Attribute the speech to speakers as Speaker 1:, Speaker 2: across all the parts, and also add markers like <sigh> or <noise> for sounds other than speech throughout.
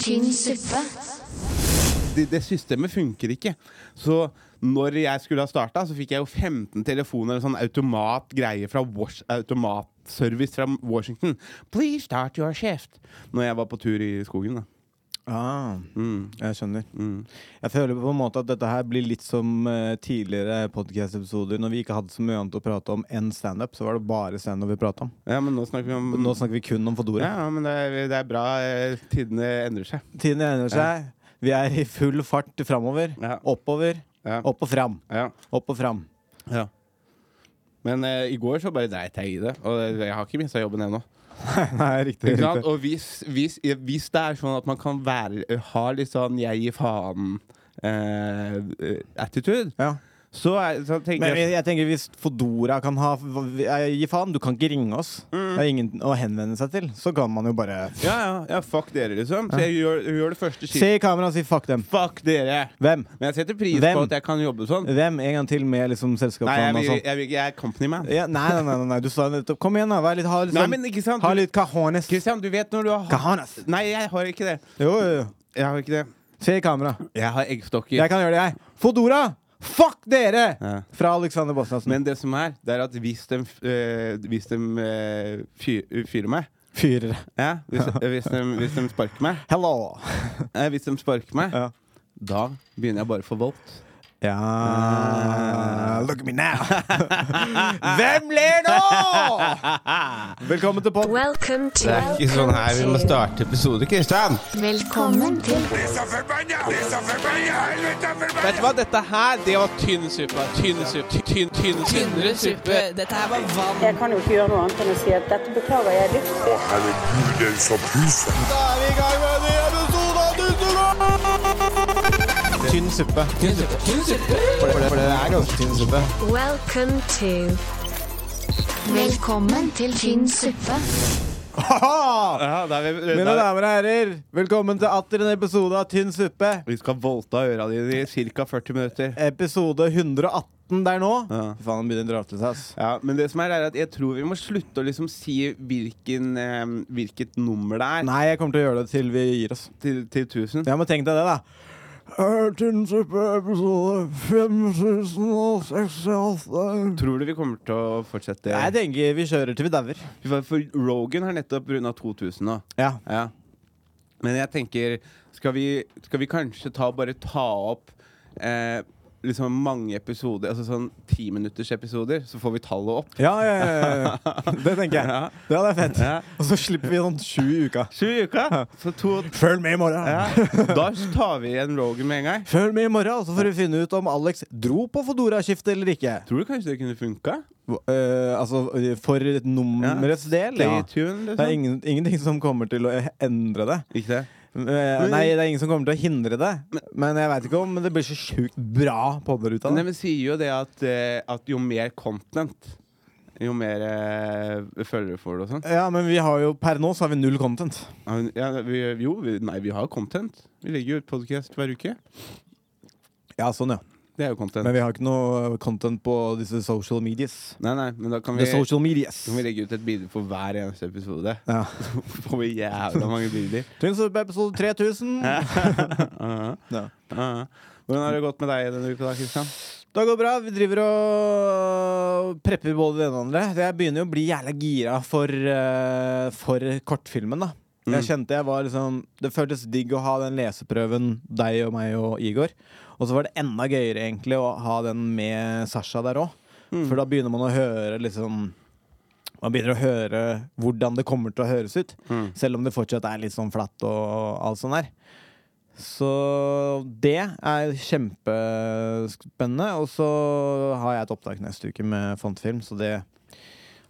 Speaker 1: Tynn suppe.
Speaker 2: det, det systemet funker ikke. Så når jeg skulle ha starta, så fikk jeg jo 15 telefoner og sånn automatgreie fra Wash, automatservice fra Washington. Please start your shift. Når jeg var på tur i skogen, da.
Speaker 3: Ah, Jeg skjønner.
Speaker 2: Mm.
Speaker 3: Jeg føler på en måte at dette her blir litt som eh, tidligere podcast-episoder. Når vi ikke hadde så mye annet å prate om enn standup, så var det bare standup vi prata om.
Speaker 2: Ja, men nå snakker vi om
Speaker 3: Nå snakker vi kun om Fodora.
Speaker 2: Ja, men det er, det er bra. eh, Tidene endrer seg.
Speaker 3: Tiden endrer seg. Vi er i full fart framover.
Speaker 2: Ja.
Speaker 3: Oppover.
Speaker 2: Ja.
Speaker 3: Opp og fram.
Speaker 2: Ja.
Speaker 3: Opp og fram.
Speaker 2: ja. Men eh, i går så bare dreit jeg i det, og jeg har ikke mista jobben ennå.
Speaker 3: <laughs> Nei, riktig.
Speaker 2: Ikke sant? Og hvis, hvis, hvis det er sånn at man kan være, ha litt sånn 'jeg gir faen'-attitude,
Speaker 3: Ja.
Speaker 2: så, er, så tenker
Speaker 3: Men
Speaker 2: jeg
Speaker 3: jeg, jeg tenker hvis Fodora kan ha jeg, Gi faen, du kan ikke ringe oss. Det er ingen å henvende seg til. Så kan man jo bare
Speaker 2: ja, ja, ja, fuck dere, liksom. Så jeg gjør, gjør det første
Speaker 3: Se
Speaker 2: skipet.
Speaker 3: i kameraet og si fuck dem.
Speaker 2: Fuck dere!
Speaker 3: Hvem?
Speaker 2: Men jeg setter pris
Speaker 3: Hvem?
Speaker 2: på at jeg kan jobbe sånn.
Speaker 3: <laughs> Hvem? En gang til med liksom
Speaker 2: Nei, jeg,
Speaker 3: selskapsnavn og
Speaker 2: vil,
Speaker 3: sånn.
Speaker 2: jeg, vil, ikke- jeg er company man.
Speaker 3: Ja, nei, nei, nei, nei, nei, du sa jo nettopp Kom igjen, da. Vær litt, ha litt,
Speaker 2: Nei,
Speaker 3: sånn-
Speaker 2: men ikke sant?
Speaker 3: ha
Speaker 2: Du,
Speaker 3: litt cajones.
Speaker 2: Christian, du vet når du har
Speaker 3: Cajones.
Speaker 2: Nei, jeg har ikke det.
Speaker 3: Jo, jo, jo.
Speaker 2: Jeg har ikke det.
Speaker 3: Se i kameraet.
Speaker 2: Jeg har eggstokker.
Speaker 3: Jeg kan gjøre det, jeg. Fodora! Fuck dere!
Speaker 2: Ja.
Speaker 3: Fra Alexander Bosniassen.
Speaker 2: Men det som er, det er at hvis de, øh, hvis de øh, fyr, fyrer meg
Speaker 3: Fyrer.
Speaker 2: ja, <laughs> hvis, hvis, de, hvis de sparker meg,
Speaker 3: Hello.
Speaker 2: eh, hvis de sparker meg
Speaker 3: <laughs> Ja.
Speaker 2: da begynner jeg bare å få voldt.
Speaker 3: Ja Look at me now. Hvem ler nå? Velkommen til pod...
Speaker 1: Welcome to sånn
Speaker 2: sånn starte episode, Kristian.
Speaker 1: Velkommen til
Speaker 4: Vet du hva, dette her, det var tynn suppe. Tynn suppe. Tynn, tynn, tynnere suppe. Dette her var vann.
Speaker 5: Jeg kan jo ikke gjøre noe annet enn å si at dette beklager jeg dypt.
Speaker 6: Å, herregud, den som puser.
Speaker 3: Da er vi i gang med en ny episode av Dusseland! Tynn suppe.
Speaker 4: Tynn suppe. Tynn suppe.
Speaker 3: For det, for det er ganske tynn suppe.
Speaker 1: Welcome to Velkommen til tynn suppe.
Speaker 3: Haha!
Speaker 2: Ja, da er vi,
Speaker 3: Mine
Speaker 2: da-
Speaker 3: damer og herrer, velkommen til atter en episode av Tynn suppe.
Speaker 2: Vi skal voldta øra dine i ca. 40 minutter.
Speaker 3: Episode 118 der nå.
Speaker 2: Ja.
Speaker 3: Fy faen, den begynner å dra til seg, ass.
Speaker 2: Ja, men det som er, er at jeg tror vi må slutte å liksom si hvilken, eh, hvilket nummer det er
Speaker 3: Nei, jeg kommer til å gjøre det til vi gir oss.
Speaker 2: til, til 1000.
Speaker 3: Ja, men tenk deg det, da. Tynn suppe episode 5068.
Speaker 2: Tror du vi kommer til å fortsette?
Speaker 3: Jeg tenker vi kjører til vi dauer.
Speaker 2: For- For Rogan har nettopp runda 2000 nå.
Speaker 3: Ja.
Speaker 2: Ja. Men jeg tenker Skal vi, skal vi kanskje ta, bare ta opp eh, liksom mange episoder, altså sånn timinuttersepisoder, så får vi tallet opp?
Speaker 3: Ja, ja, ja, ja. Det tenker jeg.
Speaker 2: Ja.
Speaker 3: Det hadde vært fett.
Speaker 2: Ja.
Speaker 3: Og så slipper vi sånn sju i uka.
Speaker 2: Sju i uka! <laughs> Så to
Speaker 3: Følg med i morgen.
Speaker 2: ja. Da tar vi igjen Rogan med en gang.
Speaker 3: Følg med i morgen, så får vi finne ut om Alex dro på Fodora-skiftet eller ikke.
Speaker 2: Tror du kanskje det kunne funka?
Speaker 3: Eh, altså, for et nummerets del.
Speaker 2: Stay
Speaker 3: Ja.
Speaker 2: tuned, liksom.
Speaker 3: Det er ingen, ingenting som kommer til å endre det.
Speaker 2: Ikke det?
Speaker 3: Eh, nei, det er ingen som kommer til å hindre det. Men jeg veit ikke om det blir så sjukt bra podder ut av
Speaker 2: Nei,
Speaker 3: det.
Speaker 2: men sier jo det at, eh, at jo mer content, jo mer eh, følgere får du og sånn.
Speaker 3: Ja, men vi har jo, per nå så har vi null content.
Speaker 2: Ja, men- Ja, vi- jo, vi, nei, vi har content. Vi legger jo ut podkast hver uke.
Speaker 3: Ja, sånn ja
Speaker 2: Det er jo content.
Speaker 3: Men vi har ikke noe eh, content på disse social medias.
Speaker 2: Nei, nei, men da kan vi,
Speaker 3: The social medias.
Speaker 2: kan vi legge ut et bilde for hver eneste episode.
Speaker 3: Ja.
Speaker 2: Så <laughs> får vi jævla mange
Speaker 3: <laughs>
Speaker 2: bilder.
Speaker 3: Tynn suppe episode 3000.
Speaker 2: Uh
Speaker 3: Ja.
Speaker 2: Hvordan har det gått med deg denne uka, da, Kristian?
Speaker 3: Det går bra. Vi driver og prepper både det ene og det andre. Jeg begynner jo å bli jævla gira for, eh, for kortfilmen, da. Jeg kjente jeg var liksom Det føltes digg å ha den leseprøven, deg og meg og Igor. Og så var det enda gøyere egentlig å ha den med Sasha der òg. For da begynner man å høre liksom Man begynner å høre hvordan det kommer til å høres ut. Selv om det fortsatt er litt sånn flatt og alt sånt der. Så det er kjempespennende. Og så har jeg et opptak neste uke med Fontfilm, så det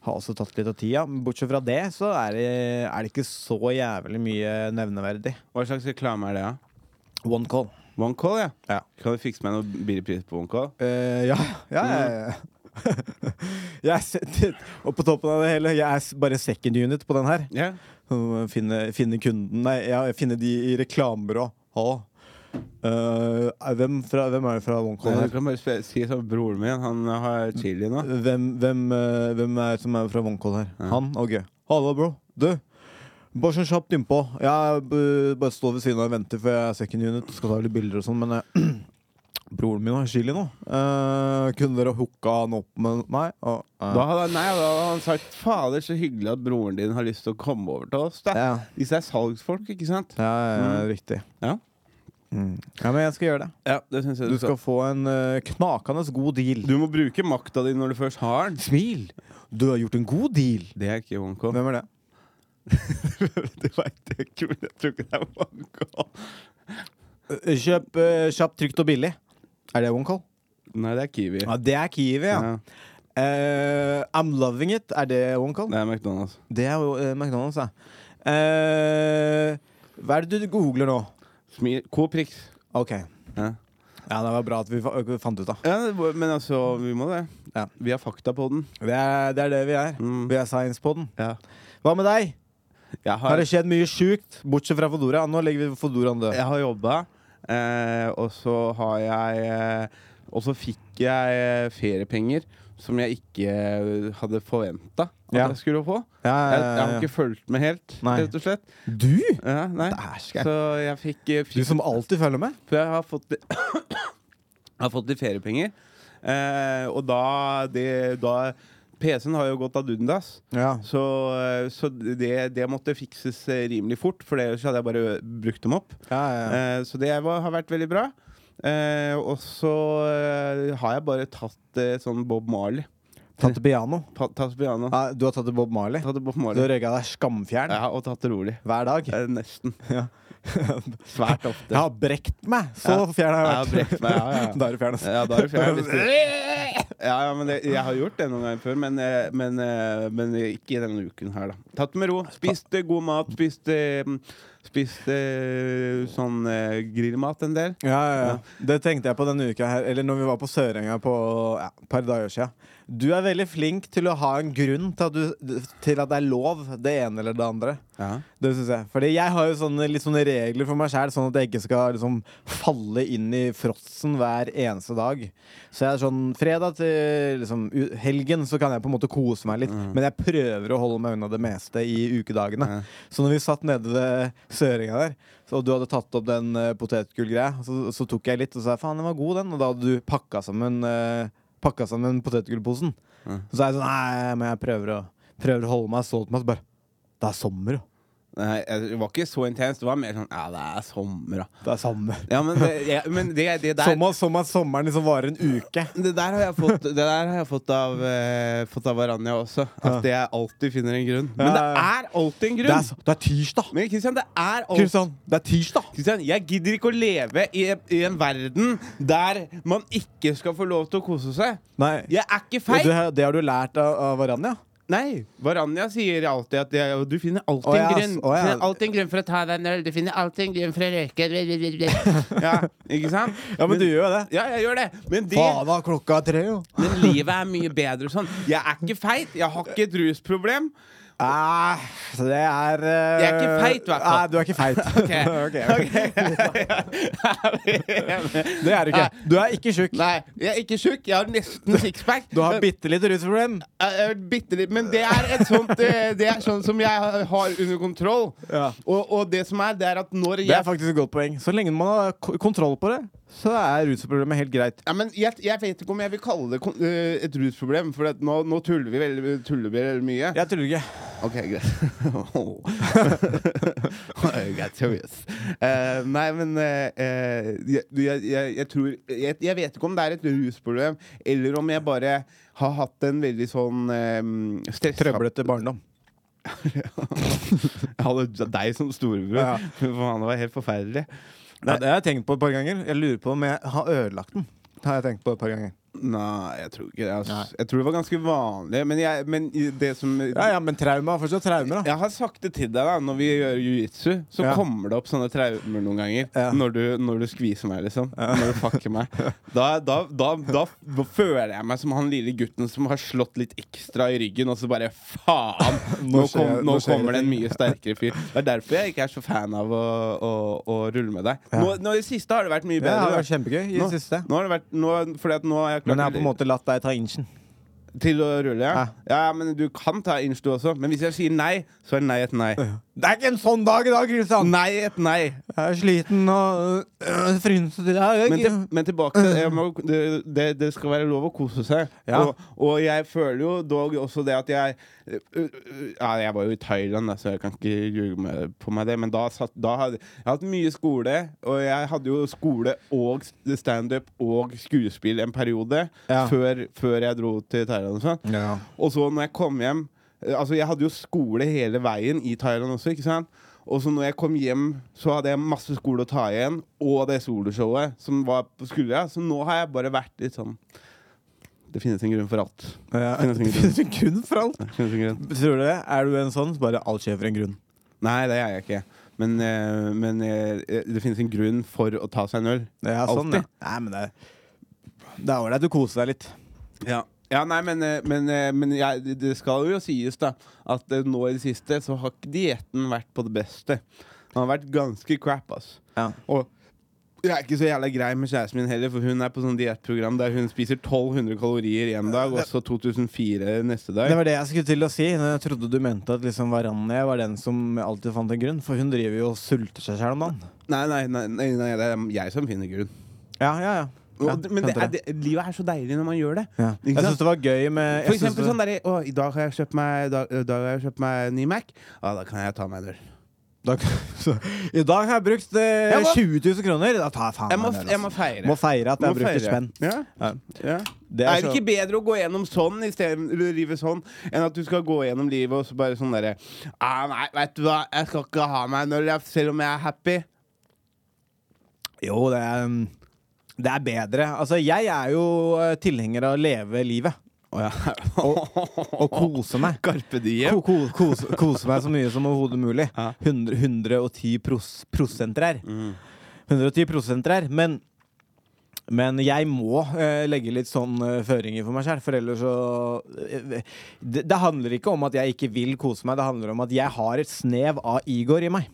Speaker 3: har også tatt litt av tida. Men bortsett fra det, så er det, er det ikke så jævlig mye nevneverdig.
Speaker 2: Hva slags reklame er det, da?
Speaker 3: One call.
Speaker 2: OneCall, ja.
Speaker 3: Ja.
Speaker 2: Kan du fikse meg noen billig pris på OneCall?
Speaker 3: Eh, ja, ja, ja, ja. <laughs> jeg er se- og på toppen av det hele, jeg er s- bare second unit på den her.
Speaker 2: Ja.
Speaker 3: Og Finne, finne kunden Nei, ja, finne de i reklamebyrå. Hallo. Eh, hvem, fra, hvem er det fra OneCall?
Speaker 2: Nei, Du kan bare spe- si sånn Broren min, han har chili nå.
Speaker 3: Hvem, hvem, eh, hvem er det som er fra Vognkål her? Han? Ok. Hallo, bro. Du, Bare sånn kjapt innpå. Jeg b- bare står ved siden av og venter, for jeg ser ikke en unit. Skal ta litt bilder og sånn, men eh, <clears throat> broren min har chili nå. Eh, kunne dere hooka han opp med Nei? Å, eh.
Speaker 2: Da hadde, nei, da hadde han sagt 'Fader, så hyggelig at broren din har lyst til å komme over til oss', da.
Speaker 3: Ja.
Speaker 2: Disse er salgsfolk, ikke sant?
Speaker 3: Ja, ja, ja, riktig.
Speaker 2: Ja.
Speaker 3: Mm. Ja, men jeg skal gjøre det.
Speaker 2: Ja, det synes jeg
Speaker 3: Du skal få en eh, knakende god deal.
Speaker 2: Du må bruke makta di når du først har den.
Speaker 3: Smil! Du har gjort en god deal.
Speaker 2: Det er ikke OneCo.
Speaker 3: Hvem er det?
Speaker 2: det veit jeg ikke, men <laughs> jeg tror ikke det er OneCo.
Speaker 3: Eh, Kjøp eh, kjapt, trygt og billig. Er det OneCall?
Speaker 2: Nei, det er Kiwi.
Speaker 3: Ja, det er Kiwi, ja.
Speaker 2: Ah, Ja.
Speaker 3: Eh, I'm loving it. Er det OneCall?
Speaker 2: Det er McDonald's.
Speaker 3: Det er jo eh, McDonald's, ja. Eh, hva er det du googler nå?
Speaker 2: Smil. Coprix.
Speaker 3: OK.
Speaker 2: Ja.
Speaker 3: Ja, det var bra at vi fa ø- fant ut av.
Speaker 2: Ja, det må- men altså, vi må det.
Speaker 3: Ja.
Speaker 2: Vi har fakta på den.
Speaker 3: Det er, det er det vi er.
Speaker 2: Mm.
Speaker 3: Vi er science på den.
Speaker 2: Ja.
Speaker 3: Hva med deg?
Speaker 2: Jeg
Speaker 3: Har
Speaker 2: har,
Speaker 3: det skjedd mye sjukt? Bortsett fra Fodora. Nå legger vi Fodoraen død.
Speaker 2: jeg har jobba, eh, og så har jeg eh, Og så fikk jeg eh, feriepenger som jeg ikke eh, hadde forventa at
Speaker 3: Ja.
Speaker 2: jeg skulle få.
Speaker 3: Ja, ja,
Speaker 2: Jeg, jeg har
Speaker 3: ja, ja.
Speaker 2: ikke fulgt med helt,
Speaker 3: Nei.
Speaker 2: rett og slett.
Speaker 3: Du?
Speaker 2: Ja, nei.
Speaker 3: Dæsken.
Speaker 2: Så jeg fikk, eh,
Speaker 3: Du
Speaker 2: fikk
Speaker 3: som alltid følger med?
Speaker 2: For jeg har fått litt, <coughs> har fått litt feriepenger. Eh, og da, det, da PC-en har jo gått ad undas.
Speaker 3: Ja.
Speaker 2: Så, eh, så det, det måtte fikses eh, rimelig fort, for ellers hadde jeg bare ø- brukt dem opp.
Speaker 3: Ja, ja, ja.
Speaker 2: Eh, så det var, har vært veldig bra. Eh, og så eh, har jeg bare tatt eh, sånn Bob Marley.
Speaker 3: Tatt til piano.
Speaker 2: Pa- Tatt piano.
Speaker 3: Ja, du har tatt til Bob Marley.
Speaker 2: Tatt Bob
Speaker 3: Ah. Du har
Speaker 2: Marley.
Speaker 3: røyka deg skamfjern
Speaker 2: Ja, og tatt det rolig.
Speaker 3: hver dag.
Speaker 2: Eh, nesten.
Speaker 3: Ja.
Speaker 2: <laughs> Svært
Speaker 3: Jeg
Speaker 2: ofte.
Speaker 3: har brekt meg! Så
Speaker 2: Ja.
Speaker 3: fjern har jeg
Speaker 2: Jeg
Speaker 3: vært.
Speaker 2: har brekt meg, ja, ja.
Speaker 3: <laughs> da er du fjern, altså.
Speaker 2: Ja, da er det fjern. hvis du- Ja, ja men det, jeg har gjort det noen ganger før, men, eh, men, eh, men ikke denne uken her, da. Tatt det med ro. Spist eh, god mat. Spist, eh, spist eh, sånn eh, grillmat en del.
Speaker 3: <laughs> Ja, ja, ja. Det tenkte jeg på denne uka her, eller når vi var på Sørenga på ja, et par dager siden. Du er veldig flink til å ha en grunn til at, du, til at det er lov, det ene eller det andre.
Speaker 2: Ja.
Speaker 3: Det synes jeg. Fordi jeg har jo sånne, litt sånne regler for meg selv sånn at jeg ikke skal liksom, falle inn i fråtsen hver eneste dag. Så jeg er sånn fredag til liksom, u- helgen så kan jeg på en måte kose meg litt, men jeg prøver å holde meg unna det meste i ukedagene.
Speaker 2: Ja.
Speaker 3: Så når vi satt nede ved Søringa der, så, og du hadde tatt opp den uh, potetgullgreia, så, så tok jeg litt og sa faen, den var god, den. Og da hadde du pakka sammen, eh, pakka sammen potetgullposen. Så er jeg sånn nei, men jeg prøver å, prøver å holde meg så til meg, så bare Det er sommer, jo.
Speaker 2: Nei, jeg- det var ikke så intenst. Det var mer sånn Ja, det er sommer, da.
Speaker 3: Det er samme.
Speaker 2: Ja, men det, jeg, men det, det der
Speaker 3: Som at, som at sommeren liksom varer en uke.
Speaker 2: det der har jeg fått, det der har jeg fått av eh, Fått av Varanja også. At jeg alltid finner en grunn. Men det
Speaker 3: Ja, ja.
Speaker 2: er alltid en
Speaker 3: Det er,
Speaker 2: grunn!
Speaker 3: s- det er tirsdag!
Speaker 2: Men Kristian, det er alltid
Speaker 3: Kristian, det er tirsdag!
Speaker 2: Kristian, jeg gidder ikke å leve i, i en verden der man ikke skal få lov til å kose seg.
Speaker 3: Nei.
Speaker 2: Jeg er ikke
Speaker 3: Og
Speaker 2: feil!
Speaker 3: Det, det har du lært av, av Varanja?
Speaker 2: Nei, Varanja sier alltid at jeg, du finner alltid
Speaker 3: Å ja,
Speaker 2: en grunn.
Speaker 3: å ja.
Speaker 2: Du finner alltid en grunn for å ta deg en øl. Du finner alltid en grunn for å røyke.
Speaker 3: <laughs>
Speaker 2: ja, ikke sant?
Speaker 3: Ja, men du gjør jo det.
Speaker 2: Ja, jeg gjør det. Men, det,
Speaker 3: Faen, da, klokka er tre, jo.
Speaker 2: men livet er mye bedre sånn. Jeg er ikke feit. Jeg har ikke et rusproblem. <laughs>
Speaker 3: <laughs> Eh, så det er eh,
Speaker 2: Jeg er ikke feit, hvertfall.
Speaker 3: Nei, du er ikke feit. <laughs> Ok, ok. Det er du ikke. Du er ikke tjukk.
Speaker 2: Nei, jeg er ikke tjukk. Jeg har nesten sixpack.
Speaker 3: Du har bitte litt rusproblem.
Speaker 2: Jeg har vært bitte litt, men det er, et sånt, eh, det er sånn som jeg har under kontroll.
Speaker 3: Ja.
Speaker 2: Og, og det som er, det er at når
Speaker 3: Det er
Speaker 2: jeg
Speaker 3: faktisk et godt poeng. Så lenge man har ko- kontroll på det, så er rusproblemet helt greit.
Speaker 2: ja, men jeg, jeg vet ikke om jeg vil kalle det kon- eh, et rusproblem, for at nå, nå tuller vi veldig, tuller vi veldig mye.
Speaker 3: Jeg tuller ikke.
Speaker 2: Ok, greit. <laughs> Åh. Jeg er seriøs. Eh, nei, men eh, eh, jeg, jeg, jeg, jeg tror jeg, jeg vet ikke om det er et rusproblem, eller om jeg bare har hatt en veldig sånn eh, stressa
Speaker 3: Trøblete barndom.
Speaker 2: <laughs> Jeg hadde deg som storebror. <laughs>
Speaker 3: Ja.
Speaker 2: Faen, det var helt forferdelig.
Speaker 3: Ja, det har jeg tenkt på et par ganger. Jeg lurer på om jeg har ødelagt den. Det har jeg tenkt på et par ganger.
Speaker 2: Nei, jeg tror ikke det. ass.
Speaker 3: Nei.
Speaker 2: Jeg tror det var ganske vanlig. Men, jeg, men i det som
Speaker 3: Ja, ja, men trauma er fortsatt traumer, da.
Speaker 2: Jeg har sagt det til deg da når vi gjør jiu-jitsu, så
Speaker 3: Ja.
Speaker 2: kommer det opp sånne traumer noen ganger.
Speaker 3: Ja.
Speaker 2: Når, du, når du skviser meg, liksom. Når du fucker
Speaker 3: <laughs>
Speaker 2: meg. Da, da, da, da, da føler jeg meg som han lille gutten som har slått litt ekstra i ryggen, og så bare faen! Nå,
Speaker 3: <laughs> Nå skjer-
Speaker 2: kom, nå
Speaker 3: nå skjer
Speaker 2: kommer det
Speaker 3: det
Speaker 2: en
Speaker 3: ting.
Speaker 2: mye sterkere fyr. Det er derfor jeg ikke er så fan av å, å, å rulle med deg. Nå, nå i det siste har det vært mye
Speaker 3: Det
Speaker 2: bedre.
Speaker 3: har
Speaker 2: da.
Speaker 3: vært kjempegøy i
Speaker 2: Nå-
Speaker 3: det siste.
Speaker 2: Nå har det vært, nå, fordi at nå har jeg klart
Speaker 3: Men jeg har på en måte latt deg ta inchen.
Speaker 2: Til å rulle, ja?
Speaker 3: Ja.
Speaker 2: Ja, men du kan ta inch, du også. Men hvis jeg sier nei, så er nei et nei.
Speaker 3: Det er ikke en sånn dag i dag, Kristian!
Speaker 2: Nei et nei.
Speaker 3: Jeg er sliten og øh, frynset i dag.
Speaker 2: Men, til, men tilbake til jeg må, det, det, det skal være lov å kose seg.
Speaker 3: Mm. Ja.
Speaker 2: Og, og jeg føler jo dog også det at jeg øh, øh, Ja, jeg var jo i Thailand, da, så jeg kan ikke ljuge med- på meg det, men da, satt, da hadde jeg hatt mye skole, og jeg hadde jo skole og standup og skuespill en periode
Speaker 3: Ja.
Speaker 2: før, før jeg dro til Thailand og sånn.
Speaker 3: Ja.
Speaker 2: Og så når jeg kom hjem eh, Altså Jeg hadde jo skole hele veien i Thailand også. ikke sant? Og så når jeg kom hjem, så hadde jeg masse skole å ta igjen, og det soloshowet som var på skuldra. Så nå har jeg bare vært litt sånn Det finnes en grunn for alt.
Speaker 3: Ja.
Speaker 2: Finnes ingen grunn.
Speaker 3: Finnes <laughs> en grunn for alt?
Speaker 2: Det finnes en grunn.
Speaker 3: Tror du det? Er du en sånn som bare alt skjer for en grunn?
Speaker 2: Nei, det er jeg ikke. Men, eh, men eh, det finnes en grunn for å ta seg en øl.
Speaker 3: Ja, sånn, ja.
Speaker 2: Alltid.
Speaker 3: Nei, men det, det er ålreit å kose deg litt.
Speaker 2: Ja. ja, nei, men, eh, men, eh, men jeg, det- det skal jo sies da at eh, nå i det siste så har ikke dietten vært på det beste. Den har vært ganske crap, ass.
Speaker 3: Ja.
Speaker 2: Og jeg er ikke så jævla grei med kjæresten min heller, for hun er på sånn diettprogram der hun spiser 1200 kalorier en dag, og så 2004 neste
Speaker 3: Det
Speaker 2: dag.
Speaker 3: var det jeg skulle til å si. når Jeg trodde du mente at liksom Varanje var den som alltid fant en grunn. For hun driver jo og sulter seg selv om dagen.
Speaker 2: Nei, nei, nei, nei, nei, det er jeg som finner grunn.
Speaker 3: Ja, ja, ja. ja
Speaker 2: Og, men det er,
Speaker 3: skjønte
Speaker 2: det, livet er så deilig når man gjør det.
Speaker 3: Ja.
Speaker 2: Ikke
Speaker 3: Jeg
Speaker 2: sant?
Speaker 3: syns det var gøy med
Speaker 2: For
Speaker 3: jeg synes
Speaker 2: eksempel
Speaker 3: det-
Speaker 2: sånn derre Å, i dag har jeg kjøpt meg, i dag, i dag har jeg kjøpt meg en ny Mac. Ja, da kan jeg ta meg en øl.
Speaker 3: da, så, I dag har <laughs> jeg brukt eh,
Speaker 2: Jeg må-
Speaker 3: 20 000 kroner. Da tar jeg faen
Speaker 2: Jeg må,
Speaker 3: meg det, altså.
Speaker 2: jeg må feire.
Speaker 3: Må feire at jeg har
Speaker 2: Må
Speaker 3: brukt et
Speaker 2: feire.
Speaker 3: spenn.
Speaker 2: Ja.
Speaker 3: Ja.
Speaker 2: Ja.
Speaker 3: Det
Speaker 2: er,
Speaker 3: er
Speaker 2: det
Speaker 3: så-
Speaker 2: ikke bedre å gå gjennom sånn istedenfor livet sånn, enn at du skal gå gjennom livet og så bare sånn derre ah, Nei, vet du hva, jeg skal ikke ha meg en øl, jeg- selv om jeg er happy.
Speaker 3: Jo, det er, mm, det er bedre. Altså, jeg er jo eh, tilhenger av å leve livet.
Speaker 2: <laughs>
Speaker 3: Og kose meg.
Speaker 2: Carpe
Speaker 3: Ko,
Speaker 2: diem.
Speaker 3: ko, kose, kose meg så mye som overhodet mulig.
Speaker 2: Ja.
Speaker 3: 100, 110 pros, prosenter her. 110 prosenter her. Men, men jeg må eh, legge litt sånn eh, føringer for meg sjøl, for ellers så eh, det, det handler ikke om at jeg ikke vil kose meg, det handler om at jeg har et snev av Igor i meg.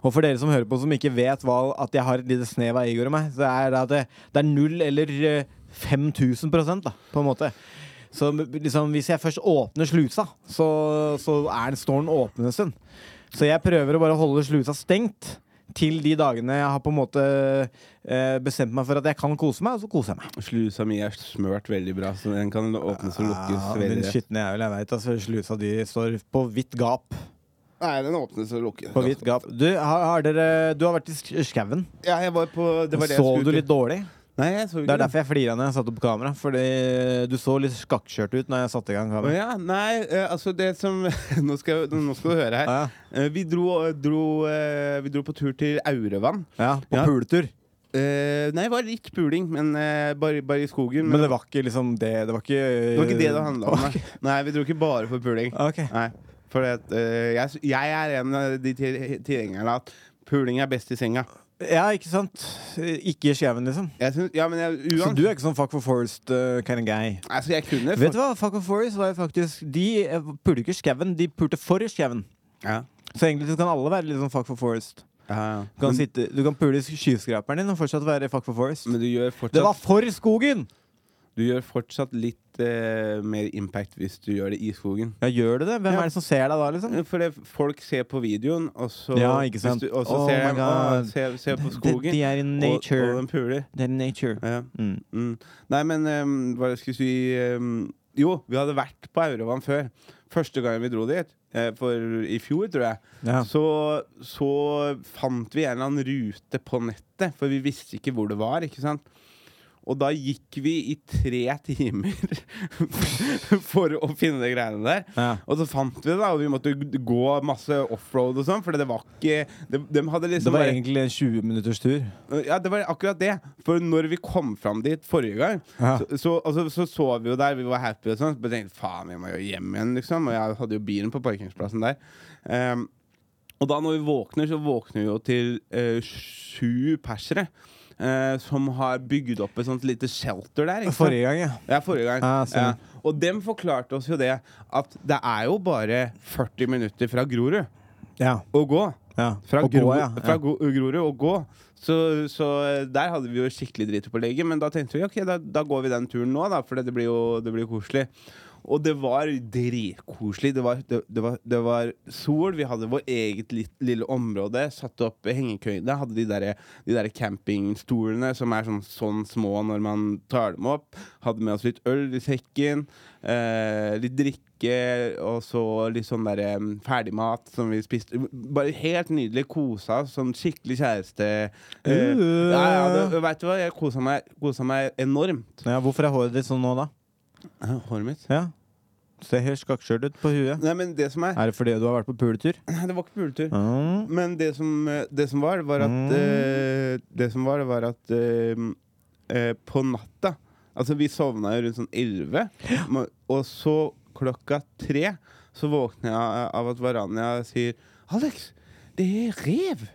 Speaker 3: Og for dere som hører på som ikke vet hva, at jeg har et lite snev av Igor i meg, så er det at det, det er null eller eh, 5000 prosent, da, på en måte. Så m- liksom, hvis jeg først åpner slusa, så, så er den, står den åpen en stund. Så jeg prøver å bare holde slusa stengt til de dagene jeg har på en måte eh, bestemt meg for at jeg kan kose meg, og så koser jeg meg.
Speaker 2: Slusa mi er smørt veldig bra, så den kan åpnes og lukkes
Speaker 3: den
Speaker 2: veldig lett.
Speaker 3: skitne jævel, jeg veit. Altså, slusa de står på vidt gap.
Speaker 2: Nei, den åpnes og lukkes.
Speaker 3: På vidt gap. Du har, har, dere, du har vært i sk- skauen.
Speaker 2: Ja, jeg var på det var det jeg
Speaker 3: Sov
Speaker 2: skulle
Speaker 3: du
Speaker 2: til.
Speaker 3: litt dårlig?
Speaker 2: Nei, jeg sov ikke.
Speaker 3: Det er derfor jeg flira når jeg satte opp kamera. Fordi du så litt skakkskjørt ut når jeg satte i gang
Speaker 2: Å
Speaker 3: kamera.
Speaker 2: ja, nei, eh, altså det som <laughs> Nå skal, jeg- nå skal du høre her.
Speaker 3: Ja,
Speaker 2: Eh, vi, dro, dro, eh, vi dro på tur til Aurevann.
Speaker 3: ja, på
Speaker 2: Ja.
Speaker 3: puletur.
Speaker 2: Eh, nei, det var litt puling, men eh, bare, bare i skogen.
Speaker 3: Men det var ikke liksom det Det var ikke
Speaker 2: det var ikke det det
Speaker 3: <laughs>
Speaker 2: handla om. Nei. nei, vi dro ikke bare for puling.
Speaker 3: Ok.
Speaker 2: Nei, for det, at, eh, jeg, s- jeg er en av de til- tilhengerne at puling er best i senga.
Speaker 3: Ja, ikke sant? Ikke i skjeven, liksom.
Speaker 2: Jeg syns- ja, men jeg,
Speaker 3: Så
Speaker 2: uansett
Speaker 3: du er ikke sånn fuck for forest uh, kind of guy?
Speaker 2: altså, jeg kunne
Speaker 3: Vet du hva? Fuck for forest var jo faktisk De eh, pulte ikke skauen, de pulte for skauen.
Speaker 2: Ja.
Speaker 3: Så egentlig så kan alle være litt sånn fuck for forest.
Speaker 2: Ja, ja.
Speaker 3: Du kan,
Speaker 2: Men,
Speaker 3: sitte, du kan pule skyskraperen din og fortsatt være fuck for forest.
Speaker 2: men du gjør
Speaker 3: Det
Speaker 2: fortsatt,
Speaker 3: var for skogen!
Speaker 2: du gjør fortsatt litt eh, mer impact hvis du gjør det i skogen.
Speaker 3: Ja, gjør du det? Hvem
Speaker 2: Ja.
Speaker 3: er det som ser deg da, liksom?
Speaker 2: For det, folk ser på videoen, og så,
Speaker 3: Ja, ikke
Speaker 2: hvis
Speaker 3: sant.
Speaker 2: Du, og så
Speaker 3: Oh
Speaker 2: ser
Speaker 3: my
Speaker 2: de
Speaker 3: God.
Speaker 2: å, ser, ser på
Speaker 3: De,
Speaker 2: skogen,
Speaker 3: de er in
Speaker 2: og,
Speaker 3: nature.
Speaker 2: og de puler.
Speaker 3: Det er nature.
Speaker 2: Ja.
Speaker 3: Mm.
Speaker 2: Mm. Nei, men ehm, hva skal jeg si ehm, Jo, vi hadde vært på Eurovan før. Første gangen vi dro dit, eh, for i fjor, tror jeg,
Speaker 3: Ja.
Speaker 2: så, så fant vi en eller annen rute på nettet, for vi visste ikke hvor det var. ikke sant? Og da gikk vi i tre <laughs> timer for å finne de greiene der.
Speaker 3: Ja.
Speaker 2: Og så fant vi det, da, og vi måtte gå masse offroad og sånn, for det var ikke de, de hadde
Speaker 3: Det
Speaker 2: liksom
Speaker 3: var
Speaker 2: bare-
Speaker 3: egentlig en 20 minutters tur.
Speaker 2: ja, det var akkurat det. For når vi kom fram dit forrige gang,
Speaker 3: Ja.
Speaker 2: så, så, altså, så så vi jo der, vi var happy og sånn. Så bare tenkte faen, vi må jo hjem igjen, liksom. Og jeg hadde jo bilen på parkeringsplassen der. Ehm, og da når vi våkner, så våkner vi jo til eh, sju persere. eh, som har bygd opp et sånt lite shelter der. Ikke sant?
Speaker 3: Forrige gang, ja.
Speaker 2: Ja, forrige gang. ja.
Speaker 3: Ah, stemmer.
Speaker 2: Og dem forklarte oss jo det at det er jo bare 40 minutter fra Grorud
Speaker 3: ja.
Speaker 2: å gå.
Speaker 3: ja.
Speaker 2: Fra,
Speaker 3: Og gå,
Speaker 2: Gro,
Speaker 3: ja.
Speaker 2: fra
Speaker 3: Ja.
Speaker 2: Go- Grorud og gå. Så, så eh, der hadde vi jo skikkelig drit på legget, men da tenkte vi ok, da, da går vi den turen nå, da, for det blir jo det blir koselig. Og det var dritkoselig. Det var, det, det, var, det var sol, vi hadde vårt eget litt, lille område. Satte opp hengekøyene. Hadde de derre de der campingstolene som er sånn, sånn små når man tar dem opp. Hadde med oss litt øl i sekken. Eh, litt drikke, og så litt sånn derre mm, ferdigmat som vi spiste. Bare helt nydelig. Kosa oss som skikkelig kjæreste. Eh,
Speaker 3: Uh.
Speaker 2: ja, ja, det, vet du hva? Jeg kosa meg, kosa meg enormt.
Speaker 3: Ja, hvorfor er håret ditt sånn nå, da?
Speaker 2: Eh, Håret mitt.
Speaker 3: Ja. Ser helt skakkskjørt ut på huet.
Speaker 2: Nei, men det som er
Speaker 3: Er det fordi du har vært på puletur?
Speaker 2: <laughs> Det var ikke puletur.
Speaker 3: Mm.
Speaker 2: Men det som, eh, det som var, var at eh, Det som var, var at eh, eh, På natta Altså, vi sovna jo rundt sånn 11, må- og så klokka tre så våkner jeg av at Varania sier Alex, det er rev!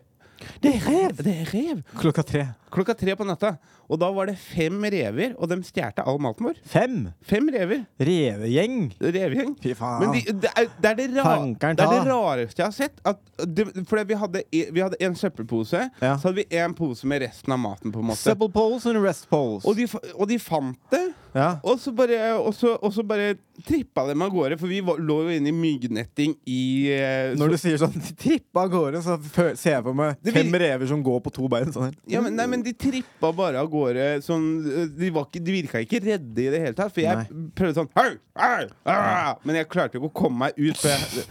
Speaker 2: Det er rev! Det er rev!
Speaker 3: Klokka tre.
Speaker 2: Klokka tre på natta. Og da var det fem rever, og de stjal all maten vår.
Speaker 3: Fem!
Speaker 2: Fem rever.
Speaker 3: Revegjeng!
Speaker 2: Revegjeng.
Speaker 3: Fy faen.
Speaker 2: Men de, det, er, det, er det, ra
Speaker 3: Tankeren
Speaker 2: det er det
Speaker 3: ta.
Speaker 2: rareste jeg har sett. At det, fordi vi hadde, e- vi hadde en søppelpose,
Speaker 3: Ja.
Speaker 2: så hadde vi en pose med resten av maten. på en måte
Speaker 3: Supple poles and rest poles.
Speaker 2: og de, fa- og de fant det,
Speaker 3: Ja.
Speaker 2: og så bare, og så, og så bare trippa dem av gårde. For vi var, lå jo inne i myggnetting i eh,
Speaker 3: Når
Speaker 2: så-
Speaker 3: du sier sånn <laughs> trippe av gårde, så fø- ser jeg for meg
Speaker 2: Det vil-
Speaker 3: fem rever som går på to bein. Sånn. her.
Speaker 2: ja, men, nei, men De trippa bare av gårde. Sånn, eh, de, var ikke, de virka ikke redde i det hele tatt. For jeg
Speaker 3: Nei.
Speaker 2: prøvde sånn «Hau! Au! Ah!» Men jeg klarte ikke å komme meg ut. For jeg,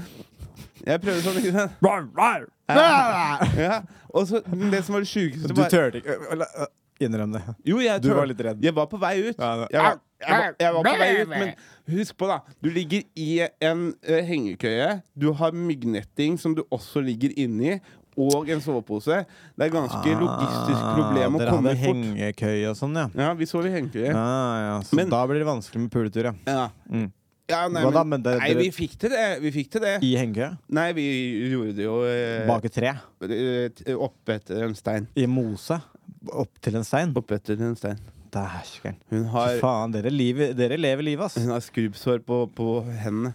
Speaker 2: jeg prøvde sånn ikke sant? <laughs> Ja, og så det som var det sjukeste
Speaker 3: Du
Speaker 2: var-
Speaker 3: turte ikke øh, øh, Innrøm det.
Speaker 2: Jo, jeg
Speaker 3: Du
Speaker 2: tør-
Speaker 3: var litt redd.
Speaker 2: Jeg var på vei ut.
Speaker 3: Ja, det-
Speaker 2: Jeg var, jeg var, jeg var på vei ut, men husk på, da. Du ligger i en eh, hengekøye. Du har myggnetting som du også ligger inni. Og en sovepose. Det er ganske logistisk problem å
Speaker 3: Ah, Dere
Speaker 2: komme
Speaker 3: hadde
Speaker 2: fort.
Speaker 3: hengekøye og sånn, ja.
Speaker 2: Ja, vi sov i hengekøye. Ja.
Speaker 3: Ah, ja. Så
Speaker 2: Men-
Speaker 3: da blir det vanskelig med puletur, ja. Mm.
Speaker 2: Ja, nei,
Speaker 3: Hva da,
Speaker 2: men,
Speaker 3: men det-
Speaker 2: nei,
Speaker 3: dere-
Speaker 2: vi fikk til det. Vi fikk til det.
Speaker 3: I hengekøye?
Speaker 2: Nei, vi gjorde det jo eh,
Speaker 3: Bak et tre?
Speaker 2: eh, t- oppetter en stein.
Speaker 3: I mose? Opp til en stein?
Speaker 2: Oppetter en stein.
Speaker 3: Dæsken.
Speaker 2: Hun
Speaker 3: Fy
Speaker 2: har,
Speaker 3: faen, dere, liv, dere lever livet, ass.
Speaker 2: hun har skrubbsår på, på hendene.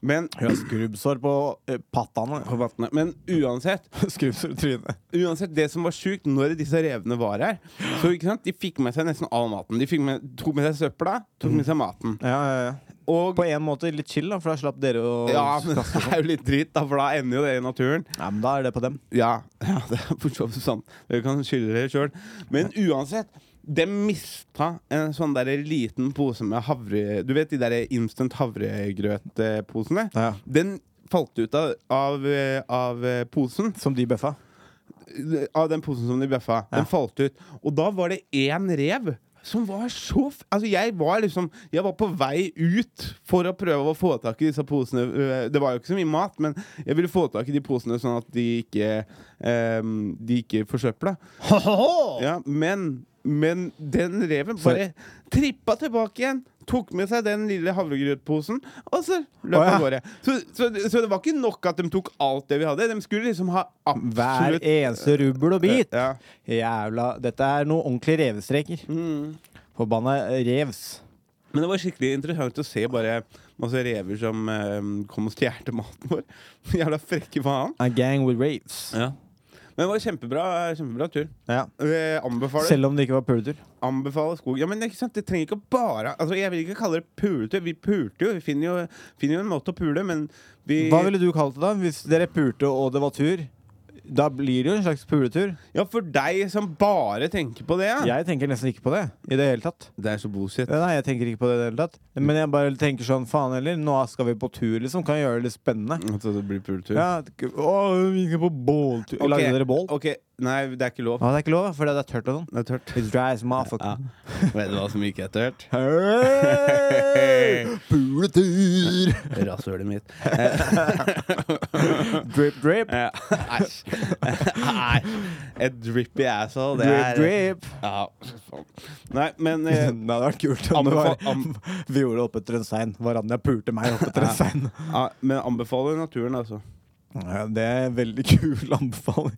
Speaker 2: Men
Speaker 3: Hun har skrubbsår på uh, pattene.
Speaker 2: på vattnet. Men <laughs> uansett,
Speaker 3: skrubbsår i trynet.
Speaker 2: uansett det som var sjukt når disse revene var her Så ikke sant, De fikk med seg nesten all maten. De fikk med, tok med seg søpla, tok med seg maten.
Speaker 3: Ja, ja, ja.
Speaker 2: Og
Speaker 3: På en måte litt chill, da, for da slapp dere å
Speaker 2: ja, men det er jo altså. litt dritt, da, for da ender jo det i naturen.
Speaker 3: Ja, men da er det på dem.
Speaker 2: Ja, <laughs> ja det er for så vidt sant. Dere kan skylde dere sjøl. Men uansett, de mista en sånn der liten pose med havre... Du vet de der instant havregrøtposene?
Speaker 3: Ja.
Speaker 2: Den falt ut av, av, eh, av eh, posen.
Speaker 3: Som de bøffa.
Speaker 2: av den posen som de bøffa. Den falt ut. Og da var det én rev som var så f Altså, jeg var liksom Jeg var på vei ut for å prøve å få tak i disse posene. Øh, Det var jo ikke så mye mat, men jeg ville få tak i de posene sånn at de ikke ehm, De ikke forsøpla. Ja, men men den reven bare trippa tilbake igjen. Tok med seg den lille havregrøtposen, og så løp
Speaker 3: Å, ja.
Speaker 2: av gårde. Så, så, så det var ikke nok at de tok alt det vi hadde. De skulle liksom ha
Speaker 3: Hver
Speaker 2: absolutt
Speaker 3: eneste rubbel og bit.
Speaker 2: Ja.
Speaker 3: Jævla Dette er noen ordentlige revestreker. Mm. Forbanna revs.
Speaker 2: Men det var skikkelig interessant å se bare masse rever som eh, kom og stjal maten vår. <laughs> Jævla frekke faen.
Speaker 3: A gang with raves.
Speaker 2: Men det var kjempebra, kjempebra tur.
Speaker 3: Ja.
Speaker 2: Eh, anbefaler,
Speaker 3: Selv om det ikke var puletur.
Speaker 2: anbefaler skog. Ja, men det, er ikke sant? det trenger ikke bare altså, Jeg vil ikke kalle det puletur. Vi pulte jo. Vi finner jo, finner jo en måte å pule, men vi
Speaker 3: Hva ville du kalt det da? Hvis dere pulte og det var tur? Da blir det jo en slags puletur.
Speaker 2: Ja, for deg som bare tenker på det.
Speaker 3: <laughs>
Speaker 2: Ja.
Speaker 3: Jeg tenker nesten ikke på det i det hele tatt.
Speaker 2: Det Mm. er så bullshit.
Speaker 3: Nei, jeg tenker ikke på det i det hele tatt. Men jeg bare tenker sånn, faen heller, nå skal vi på tur, liksom. Kan jeg gjøre det litt spennende?
Speaker 2: Altså, det blir puletur.
Speaker 3: Ja, k- å, vi gikk på båltur.
Speaker 2: Ok,
Speaker 3: Lagde dere bål?
Speaker 2: ok. Nei, det er ikke lov.
Speaker 3: Ja, det er ikke lov, for det er tørt og sånn.
Speaker 2: Det er tørt.
Speaker 3: It's dry as motherfucker.
Speaker 2: Ja. Vet du hva som ikke er tørt?
Speaker 3: <laughs> Hey! Puletur!
Speaker 2: Rasshølet mitt. Eh,
Speaker 3: Drip, drip.
Speaker 2: Ja, Æsj. Nei. Et drippy asshole, det
Speaker 3: Drip,
Speaker 2: er
Speaker 3: drip.
Speaker 2: Ja, fy faen. Nei, men
Speaker 3: <laughs>
Speaker 2: <laughs>
Speaker 3: Det
Speaker 2: eh,
Speaker 3: hadde vært kult om det var
Speaker 2: Anbefal- am-
Speaker 3: <laughs> Vi gjorde det oppetter en stein. Varanja pulte meg oppetter en stein.
Speaker 2: ja, Men anbefaler naturen, altså.
Speaker 3: Ja, det er en veldig kul anbefaling.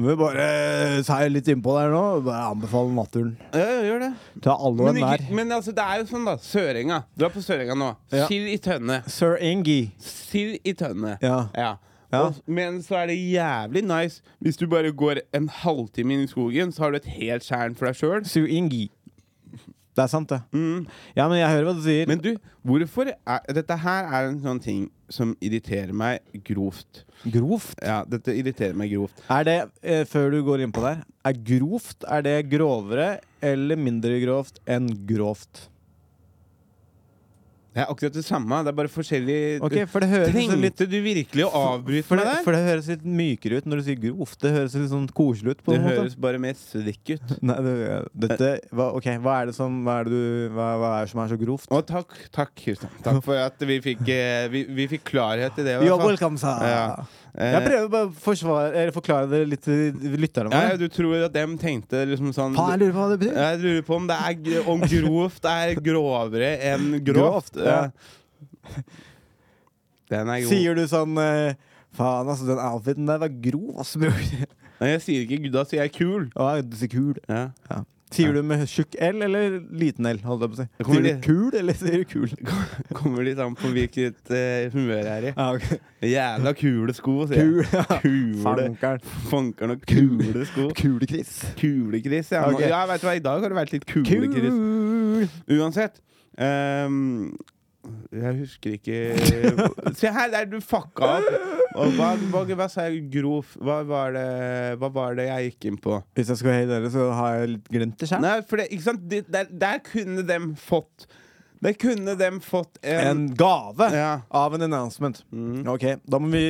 Speaker 3: Vi bare eh, seier litt innpå der nå. Bare anbefaler naturen.
Speaker 2: Ja, gjør det.
Speaker 3: Ta alle og
Speaker 2: Men,
Speaker 3: enhver.
Speaker 2: ikke, men altså, det er jo sånn, da. Sørenga. Du er på Sørenga nå.
Speaker 3: Ja.
Speaker 2: Sild i tønne.
Speaker 3: Sir Ingi.
Speaker 2: Sild i tønne.
Speaker 3: Ja. Ja.
Speaker 2: Og, men så er det jævlig nice hvis du bare går en halvtime inn i skogen, så har du et helt tjern for deg sjøl.
Speaker 3: Sir Ingi. Det er sant, det. Ja, men jeg hører hva du sier.
Speaker 2: Mm. Men du, hvorfor er, Dette her er en sånn ting som irriterer meg grovt.
Speaker 3: grovt?
Speaker 2: Ja, dette irriterer meg grovt.
Speaker 3: Er det, eh, før du går innpå der, er grovt er det grovere eller mindre grovt enn grovt?
Speaker 2: Det er akkurat det samme. Det er bare forskjellig
Speaker 3: Ok, for det høres
Speaker 2: Trengte
Speaker 3: litt
Speaker 2: du virkelig å avbryte
Speaker 3: for
Speaker 2: meg
Speaker 3: det,
Speaker 2: der?
Speaker 3: for det høres litt mykere ut når du sier grovt. Det høres litt sånn koselig ut. på
Speaker 2: det
Speaker 3: en måte.
Speaker 2: høres bare mer slikk ut.
Speaker 3: Nei, det, dette, hva, ok, hva er det som, hva er det du, hva, hva er det som er så grovt?
Speaker 2: Og takk, takk, Kristian. Takk for at vi fikk, eh, vi, vi fikk klarhet i det. i hvert
Speaker 3: You're
Speaker 2: fall.
Speaker 3: welcome, sa
Speaker 2: Ja.
Speaker 3: Jeg
Speaker 2: Eh,
Speaker 3: prøver bare å forsvare, eller forklare det litt til lytterne
Speaker 2: ja, ja,
Speaker 3: våre.
Speaker 2: du tror at dem tenkte liksom sånn
Speaker 3: Faen, jeg lurer på hva det betyr.
Speaker 2: Jeg lurer på om det er gr- om grovt er grovere enn grovt.
Speaker 3: Grovt, ja.
Speaker 2: Eh, Den er god.
Speaker 3: Sier du sånn eh, Faen, altså, den outfiten der var grov, ass, bror.
Speaker 2: Nei, jeg sier ikke 'gudda', sier jeg 'kul'.
Speaker 3: <laughs> Å, du sier kul.
Speaker 2: Ja.
Speaker 3: Sier du med tjukk L eller liten L? Holdt jeg på å si.
Speaker 2: Det kommer
Speaker 3: Sier du
Speaker 2: litt-
Speaker 3: kul, eller sier du kul?
Speaker 2: Kommer litt an på hvilket eh, humør jeg er i.
Speaker 3: Ja,
Speaker 2: <laughs>
Speaker 3: ok.
Speaker 2: Jævla kule sko, sier jeg.
Speaker 3: Kul. ja.
Speaker 2: Kule.
Speaker 3: Fankeren.
Speaker 2: Fanker noen kule sko.
Speaker 3: Kule-Chris.
Speaker 2: Kulekris, ja.
Speaker 3: Ok.
Speaker 2: ja vet du hva, I dag har det vært litt kulekris.
Speaker 3: Kul!
Speaker 2: Uansett. ehm, jeg husker <laughs> ikke Se her, der du fucka opp! Og hva, hva, hva sa jeg? Grov hva var, det, hva var det jeg gikk inn på?
Speaker 3: Hvis jeg skal hate dere, så har jeg litt glemt det sjøl.
Speaker 2: Nei, for det, ikke sant? Det, der, der kunne dem fått Der kunne dem fått en,
Speaker 3: En gave
Speaker 2: Ja. Mhm.
Speaker 3: av en announcement. Ok, da må vi,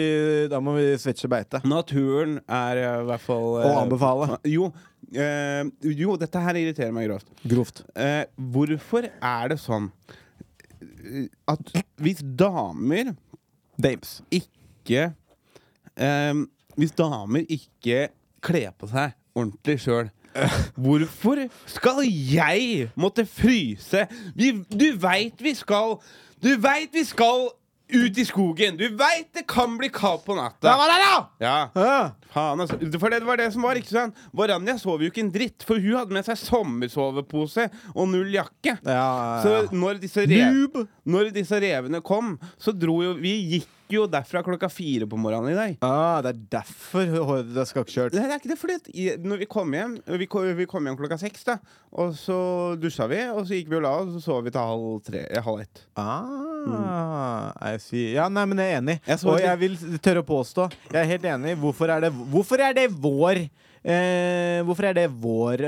Speaker 3: da må vi switche beite.
Speaker 2: Naturen er eh, i hvert fall eh,
Speaker 3: Å anbefale.
Speaker 2: Jo, eh, jo, dette her irriterer meg grovt.
Speaker 3: Grovt.
Speaker 2: Eh, hvorfor er det sånn eh, at hvis damer
Speaker 3: Dames.
Speaker 2: ikke eh, Hvis damer ikke kler på seg ordentlig
Speaker 3: <laughs>
Speaker 2: sjøl Hvorfor skal jeg måtte fryse? Vi, du veit vi skal Du veit vi skal ut i skogen! Du veit det kan bli kaldt på natta! Ja. Faen, altså. For det var det som var, ikke sant? Varanja sov jo ikke en dritt, for hun hadde med seg sommersovepose og null jakke.
Speaker 3: Ja, ja, ja.
Speaker 2: Så når disse, rev, når disse revene kom, så dro jo Vi gikk jo derfra klokka fire på morgenen i dag.
Speaker 3: Ah, det er derfor håret ditt er skakkjørt.
Speaker 2: Nei, det er ikke det, fordi at i- når vi kom hjem vi kom, vi kom hjem klokka seks, da. Og så dusja vi, og så gikk vi og la oss, og så sov vi til halv tre, eh, halv ett.
Speaker 3: Ah, jeg sier Ja, nei, men jeg er enig.
Speaker 2: Jeg så
Speaker 3: og
Speaker 2: et-
Speaker 3: jeg vil tørre å påstå Jeg er helt enig. Hvorfor er det, hvorfor er det vår eh, Hvorfor er det vår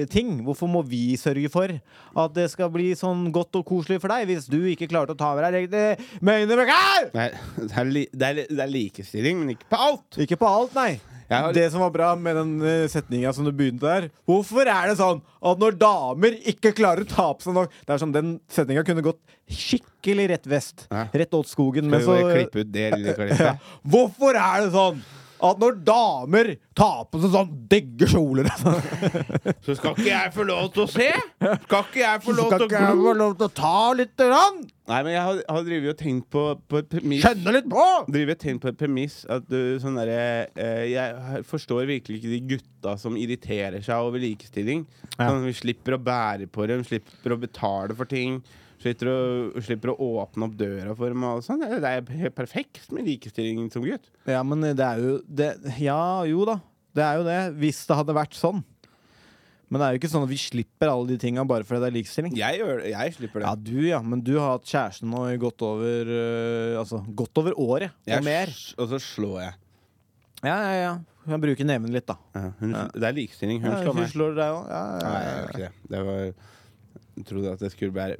Speaker 3: eh, ting? Hvorfor må vi sørge for at det skal bli sånn godt og koselig for deg hvis du ikke klarte å ta med deg egne møynebrøker?
Speaker 2: Nei, <laughs> det er, li, det, er, li- det er likestilling, men ikke på alt.
Speaker 3: Ikke på alt, nei.
Speaker 2: Jeg har-
Speaker 3: Det som var bra med den eh, setninga som du begynte der Hvorfor er det sånn at når damer ikke klarer å ta på seg nok Det er sånn, Den setninga kunne gått skikkelig rett vest.
Speaker 2: Ja.
Speaker 3: Rett åt skogen. Men
Speaker 2: Skal
Speaker 3: så
Speaker 2: vi klippe eh, ut det lille
Speaker 3: <laughs> ja.
Speaker 2: klippet?
Speaker 3: Hvorfor er det sånn at når damer tar på seg sånn digge kjoler <laughs>
Speaker 2: Så skal ikke jeg få lov til å se? Skal ikke jeg få
Speaker 3: Så
Speaker 2: lov
Speaker 3: kan
Speaker 2: til å
Speaker 3: ikke jeg
Speaker 2: glo?
Speaker 3: få lov til å ta litt? Grann?
Speaker 2: Nei, men jeg har, har drevet og tenkt på, på et premiss
Speaker 3: Kjenne litt på!
Speaker 2: Driver et tegn på et premiss at du sånn derre eh, Jeg forstår virkelig ikke de gutta som irriterer seg over likestilling.
Speaker 3: Ja.
Speaker 2: Sånn, vi slipper å bære på dem, slipper å betale for ting. Slipper å, slipper å åpne opp døra for dem. Og sånn. Det er helt perfekt med likestilling som gutt.
Speaker 3: Ja, men det er jo det, Ja, jo da. Det er jo det. Hvis det hadde vært sånn. Men det er jo ikke sånn at vi slipper alle de tinga bare fordi det er likestilling.
Speaker 2: Jeg, gjør, jeg slipper det.
Speaker 3: Ja, du, ja. Men du har hatt kjæreste nå i godt over øh, Altså godt over året
Speaker 2: Jeg
Speaker 3: og mer.
Speaker 2: s- Og så slår jeg.
Speaker 3: Ja, ja, ja. Du kan bruke neven litt, da.
Speaker 2: Ja, hun, Det er likestilling. Hun
Speaker 3: Ja,
Speaker 2: slår
Speaker 3: hun
Speaker 2: meg.
Speaker 3: slår deg òg. Ja, ja,
Speaker 2: Nei, jeg
Speaker 3: ja,
Speaker 2: gjør ikke det. Det var jeg trodde at det skulle være,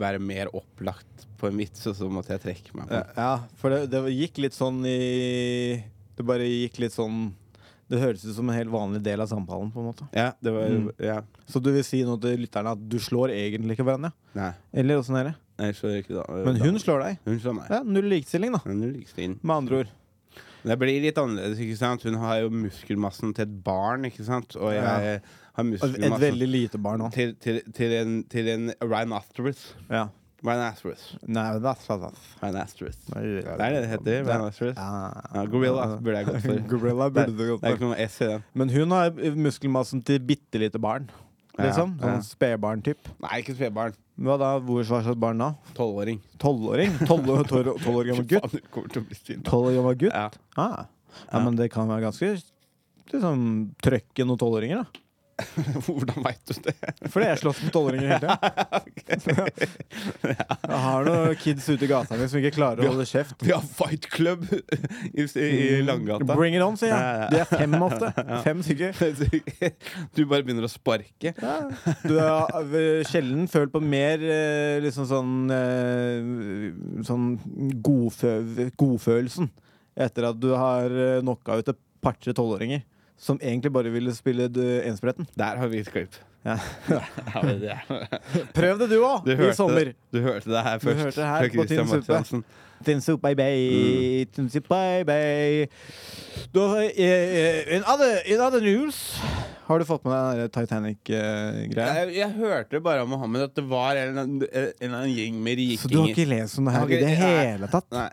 Speaker 2: være mer opplagt på en vits, og så måtte jeg trekke meg.
Speaker 3: ja. ja, for det, det gikk litt sånn i Det bare gikk litt sånn Det høres ut som en helt vanlig del av samtalen, på en måte.
Speaker 2: Ja, det var
Speaker 3: Mm.
Speaker 2: Ja.
Speaker 3: Så du vil si nå til lytterne at du slår egentlig ikke hverandre?
Speaker 2: Nei.
Speaker 3: Eller åssen er det?
Speaker 2: Nei, jeg slår ikke da.
Speaker 3: Men hun slår deg.
Speaker 2: Hun slår meg.
Speaker 3: Ja, Null likestilling, da.
Speaker 2: Men hun likes det inn.
Speaker 3: Med andre ord.
Speaker 2: Det blir litt annerledes, ikke sant? Hun har jo muskelmassen til et barn, ikke sant? Og jeg
Speaker 3: Ja. Altså,
Speaker 2: har
Speaker 3: Et
Speaker 2: muskelmassen
Speaker 3: veldig lite barn òg.
Speaker 2: til, til, til en, til en rhinoceros.
Speaker 3: Ja.
Speaker 2: Rhinoceros.
Speaker 3: Nei, men da- da- da-
Speaker 2: Rhinoceros. Det
Speaker 3: Nei,
Speaker 2: er det det heter. Rhinoceros. Ja, gorilla burde
Speaker 3: <laughs>
Speaker 2: jeg gått for.
Speaker 3: Gorilla
Speaker 2: Det,
Speaker 3: burde du
Speaker 2: det
Speaker 3: gått
Speaker 2: er
Speaker 3: for.
Speaker 2: ikke noe S i den.
Speaker 3: Men hun har muskelmassen til bitte lite barn. Liksom.
Speaker 2: Ja, ja.
Speaker 3: Sånn spedbarn-typ.
Speaker 2: Nei, ikke spedbarn.
Speaker 3: Hva da? Hvor hva slags barn da?
Speaker 2: Tolvåring.
Speaker 3: Tolvåring? Tolv <laughs> år tolv- tolv år gammel
Speaker 2: Faen,
Speaker 3: gutt?
Speaker 2: det kommer til å bli stille.
Speaker 3: Tolv år gammel gutt?
Speaker 2: Ja.
Speaker 3: Ah. Ja, men det kan være ganske liksom, trøkken og tolvåringer, da.
Speaker 2: <laughs> Hvordan veit du det?
Speaker 3: Fordi jeg slåss mot tolvåringer hele tida.
Speaker 2: <laughs>
Speaker 3: Jeg har noen kids ute i gata mi som ikke klarer å holde kjeft.
Speaker 2: Vi har Fight Club <laughs> i, i Langgata.
Speaker 3: Bring it on, sier
Speaker 2: Ja, ja.
Speaker 3: jeg. De er fem
Speaker 2: <laughs>
Speaker 3: ofte. Fem stykker.
Speaker 2: Du bare begynner å sparke.
Speaker 3: Du har eh, sjelden følt på mer eh, liksom sånn eh, Sånn godfø godfølelsen etter at du har eh, knocka ut et par-tre tolvåringer som egentlig bare ville spille eh, enspretten.
Speaker 2: Der har vi et klipp.
Speaker 3: Ja.
Speaker 2: <laughs> Ja, men det er-
Speaker 3: Prøv det du òg,
Speaker 2: <laughs> Du
Speaker 3: i
Speaker 2: hørte,
Speaker 3: sommer!
Speaker 2: det- du hørte det her
Speaker 3: Du
Speaker 2: først.
Speaker 3: hørte det her
Speaker 2: fra
Speaker 3: på Tynn
Speaker 2: Christian
Speaker 3: suppe.
Speaker 2: Martiansen.
Speaker 3: Tinsu bye bye,
Speaker 2: Mm.
Speaker 3: tinsu bye bye. Du, har, eh, eh, in, other, in other news Har du fått med deg den Titanic-greia?
Speaker 2: Jeg, jeg hørte bare om Mohammed at det var en eller annen, en eller annen gjeng med
Speaker 3: Så du har
Speaker 2: rikinger.
Speaker 3: ikke lest om det her
Speaker 2: Jeg
Speaker 3: i
Speaker 2: har
Speaker 3: det
Speaker 2: ikke-
Speaker 3: hele tatt?
Speaker 2: Nei.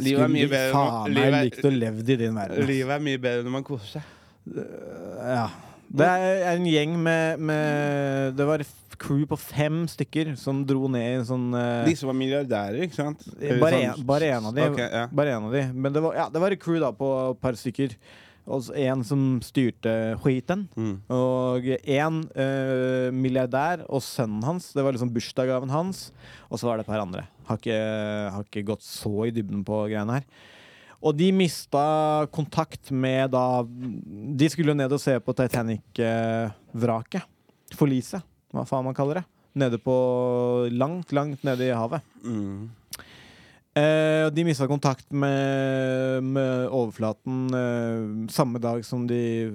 Speaker 2: Livet er
Speaker 3: Skulle
Speaker 2: mye bedre nå.
Speaker 3: faen meg
Speaker 2: Livet er-
Speaker 3: likt å levd i din verden.
Speaker 2: Livet er mye bedre når man koser seg.
Speaker 3: Ja. Det er en gjeng med, med Det var f- crew på fem stykker som dro ned i en sånn eh,
Speaker 2: De som var milliardærer, ikke sant? Sånn
Speaker 3: Bare en, bare en av de.
Speaker 2: Ok, ja.
Speaker 3: Bare en av de. Men det var, ja, det var et crew da på et par stykker. Og så en som styrte skiten.
Speaker 2: Mm.
Speaker 3: Og en eh, milliardær og sønnen hans. Det var liksom bursdagsgaven hans. Og så var det et par andre. Har ikke, har ikke gått så i dybden på greiene her. Og de mista kontakt med da De skulle jo ned og se på Titanic-vraket. Forliset, hva faen man kaller det. Nede på Langt, langt nede i havet.
Speaker 2: Mm.
Speaker 3: Eh, og de mista kontakt med, med overflaten eh, samme dag som de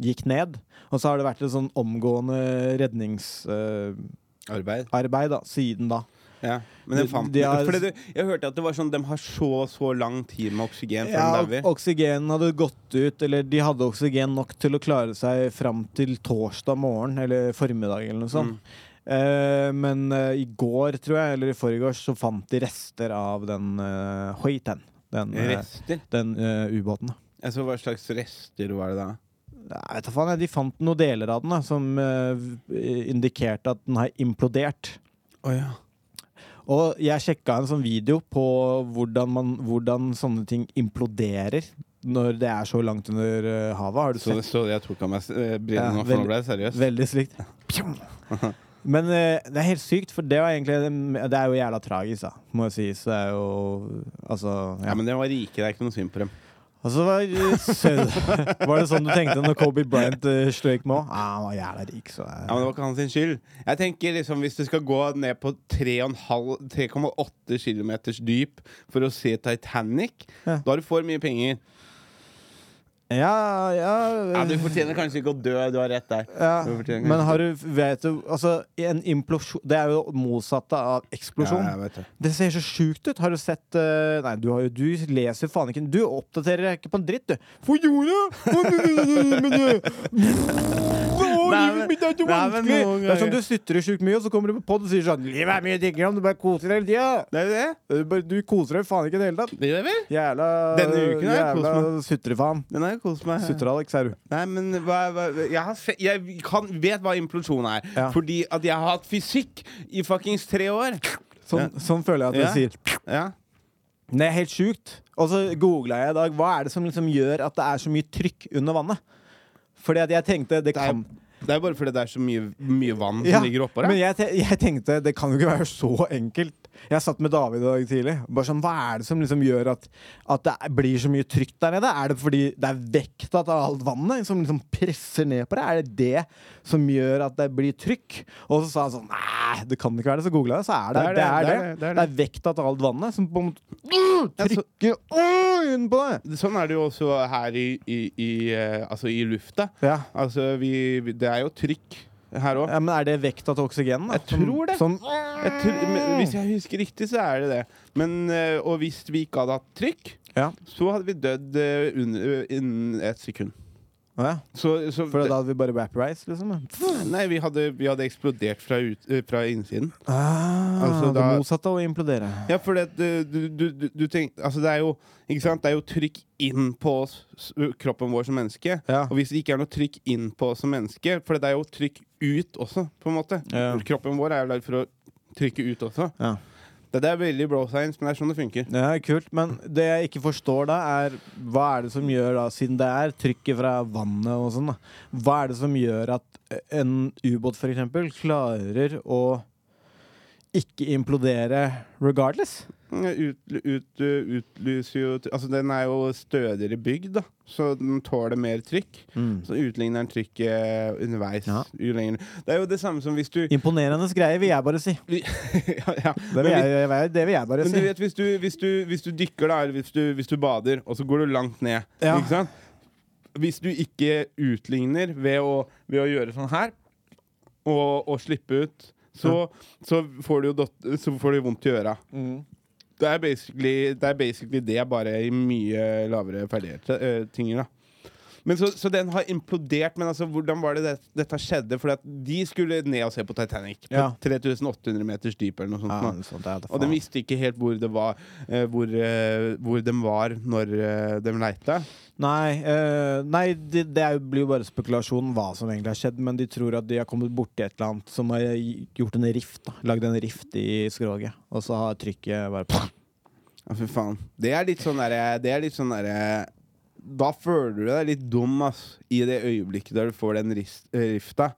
Speaker 3: gikk ned. Og så har det vært et sånn omgående redningsarbeid
Speaker 2: Arbeid.
Speaker 3: da, siden da.
Speaker 2: Ja. Men jeg,
Speaker 3: De-
Speaker 2: fant,
Speaker 3: de har-
Speaker 2: fordi det, jeg hørte at det var sånn de har så så lang tid med oksygen før
Speaker 3: Ja,
Speaker 2: de dauer.
Speaker 3: oksygenen hadde gått ut, eller de hadde oksygen nok til å klare seg fram til torsdag morgen eller formiddag eller noe sånt. Eh, men eh, i går, tror jeg, eller i forgårs, så fant de rester av den uh, Hoiten. Den, eh,
Speaker 2: Rester?
Speaker 3: den eh, ubåten. da.
Speaker 2: Altså, hva slags rester var det da?
Speaker 3: Nei, vet du faen, jeg, de fant noen deler av den da, som eh, v- indikerte at den har implodert.
Speaker 2: Å ja.
Speaker 3: Og jeg sjekka en sånn video på hvordan, man, hvordan sånne ting imploderer når det er så langt under eh, havet. Har du
Speaker 2: Så,
Speaker 3: sett?
Speaker 2: så jeg tok av meg eh,
Speaker 3: Ja,
Speaker 2: brillene nå, for
Speaker 3: veldig-
Speaker 2: nå ble jeg seriøs.
Speaker 3: Veldig slikt. Pjong! Men eh, det er helt sykt, for det, var egentlig, det er jo jævla tragisk, da, må jeg si. Så det er jo Altså, ja.
Speaker 2: Ja, men de var rike, det er ikke noe synd på dem.
Speaker 3: altså var, <laughs> var det sånn du tenkte når Kobe Bryant uh, strøyk med òg? Ah, han var jævla rik, så eh.
Speaker 2: Ja, men Det var ikke hans sin skyld. Jeg tenker liksom Hvis du skal gå ned på 3,5 3,8 km dyp for å se Titanic,
Speaker 3: Ja.
Speaker 2: da har du for mye penger.
Speaker 3: Ja, ja,
Speaker 2: Ja, Du fortjener kanskje ikke å dø. Du har rett der.
Speaker 3: Ja,
Speaker 2: Du fortjener kanskje
Speaker 3: men har du, vet du altså, en implosjon, Det er jo motsatte av
Speaker 2: ikke-
Speaker 3: eksplosjon.
Speaker 2: Ja, jeg vet det.
Speaker 3: Det ser så sjukt ut. Har du sett eh, Nei, du, har jo, du leser jo faen ikke Du oppdaterer deg ikke på en dritt, du. For jorda og du- du- du- du- du- Å,
Speaker 2: Nei,
Speaker 3: Livet
Speaker 2: men-
Speaker 3: mitt er ikke
Speaker 2: nei, men
Speaker 3: vanskelig!
Speaker 2: noen
Speaker 3: Det er som
Speaker 2: ganger-
Speaker 3: du sutrer sjukt mye, og så kommer du på pod og sier sånn Livet er mye diggere om du bare koser deg hele tida.
Speaker 2: Det er jo det.
Speaker 3: Du, bare- du koser deg faen ikke i det hele tatt.
Speaker 2: Det gjør jeg vel?
Speaker 3: Jævla,
Speaker 2: Denne uken har jeg kost
Speaker 3: jævla sutrefaen.
Speaker 2: Den har jeg kost meg.
Speaker 3: Sutre-Alex, er du.
Speaker 2: Nei, men hva, hva, jeg, har se, jeg kan, vet hva implosjon er.
Speaker 3: Ja.
Speaker 2: Fordi at jeg har hatt fysikk i fuckings tre år.
Speaker 3: Sånn, sånn føler jeg at du
Speaker 2: Ja.
Speaker 3: sier.
Speaker 2: Ja.
Speaker 3: Det er helt sjukt. Og så googla jeg i dag hva er det som liksom gjør at det er så mye trykk under vannet. Fordi at jeg tenkte det
Speaker 2: Det er
Speaker 3: kan
Speaker 2: det er bare fordi det er så mye, mye vann
Speaker 3: Ja,
Speaker 2: som ligger oppå
Speaker 3: Men
Speaker 2: der.
Speaker 3: jeg, te jeg tenkte det kan jo ikke være så enkelt. Jeg satt med David i dag tidlig. Bare sånn, Hva er det som liksom gjør at, at det er- blir så mye trykk der nede? Er det fordi det er vekta av alt vannet som liksom presser ned på det? Er det det som gjør at det blir trykk? Og så sa han sånn Nei, det kan ikke være det. Så googla jeg, så er det det. Er det, det,
Speaker 2: er
Speaker 3: er vekta av alt vannet som på en måte
Speaker 2: Ja, så-
Speaker 3: trykker øh, inn på det.
Speaker 2: Sånn er det jo også her i, i, i, eh, altså i lufta.
Speaker 3: Ja.
Speaker 2: Altså, vi, vi- det er jo trykk her òg.
Speaker 3: ja, Men er det vekta til oksygenen? da?
Speaker 2: Jeg tror det.
Speaker 3: Som,
Speaker 2: Hvis jeg husker riktig, så er det det. Men, eh, og hvis vi ikke hadde hatt trykk,
Speaker 3: ja.
Speaker 2: så hadde vi dødd eh, under- innen et sekund.
Speaker 3: ja.
Speaker 2: Så, så
Speaker 3: For da hadde vi bare wrap rice, liksom? ja.
Speaker 2: Nei, vi hadde, vi hadde eksplodert fra, ut, eh, fra innsiden.
Speaker 3: Ah,
Speaker 2: Altså,
Speaker 3: det
Speaker 2: da-
Speaker 3: motsatte av å implodere.
Speaker 2: Ja, for det, du, du, du, du- du tenk- altså, det er jo Ikke sant? Det er jo trykk inn på oss, s- kroppen vår som menneske.
Speaker 3: Ja.
Speaker 2: Og hvis det ikke er noe trykk inn på oss som menneske, for det er jo trykk ut også, på en måte.
Speaker 3: Ja.
Speaker 2: Kroppen vår er jo lagd for å trykke ut også.
Speaker 3: Ja.
Speaker 2: Det Dette er veldig bro science, men det er sånn det funker.
Speaker 3: Ja, kult, men det jeg ikke forstår da, er hva er det som gjør da, siden det er trykket fra vannet og sånn, da, hva er det som gjør at eh, en ubåt for eksempel klarer å ikke implodere regardless?
Speaker 2: Mm, Ut, ut, utlyser jo Altså, den er jo stødigere bygd, da, så den tåler mer trykk. Så utligner den trykket underveis.
Speaker 3: Mm. Ja.
Speaker 2: Jo lenger Det er jo det samme som hvis du
Speaker 3: Imponerende greie, vil jeg bare si.
Speaker 2: <laughs> ja, ja.
Speaker 3: Det vil jeg, jeg, jeg, det vil jeg bare
Speaker 2: Men du
Speaker 3: si.
Speaker 2: vet, hvis du, hvis du, hvis du dykker, da, eller hvis du, hvis du bader, og så går du langt ned
Speaker 3: Ja.
Speaker 2: ikke sant? Hvis du ikke utligner ved å, ved å gjøre sånn her, og, og slippe ut, så, så, får du jo dot, så får du vondt i øra.
Speaker 3: Mm.
Speaker 2: Det, er basically, det er basically det, bare i mye lavere ferdigheter. eh, ting, da. Men så, så den har implodert. Men altså, hvordan var det, det dette skjedde? For de skulle ned og se på Titanic. På
Speaker 3: Ja.
Speaker 2: 3800 meters dyp eller noe sånt.
Speaker 3: Ja,
Speaker 2: nå.
Speaker 3: noe sånt, ja, da
Speaker 2: Og de
Speaker 3: faen.
Speaker 2: visste ikke helt hvor det var eh, hvor, eh, hvor de var når eh, de leita.
Speaker 3: Nei, eh, nei det, det er jo- blir jo bare spekulasjon hva som egentlig har skjedd, men de tror at de har kommet borti et eller annet som har gjort en rift. da Lagd en rift i skroget, og så har trykket bare
Speaker 2: Ja, fy faen. Det er litt sånn derre Det er litt sånn derre Da føler du deg litt dum, ass, i det øyeblikket der du får den rist, eh, rifta.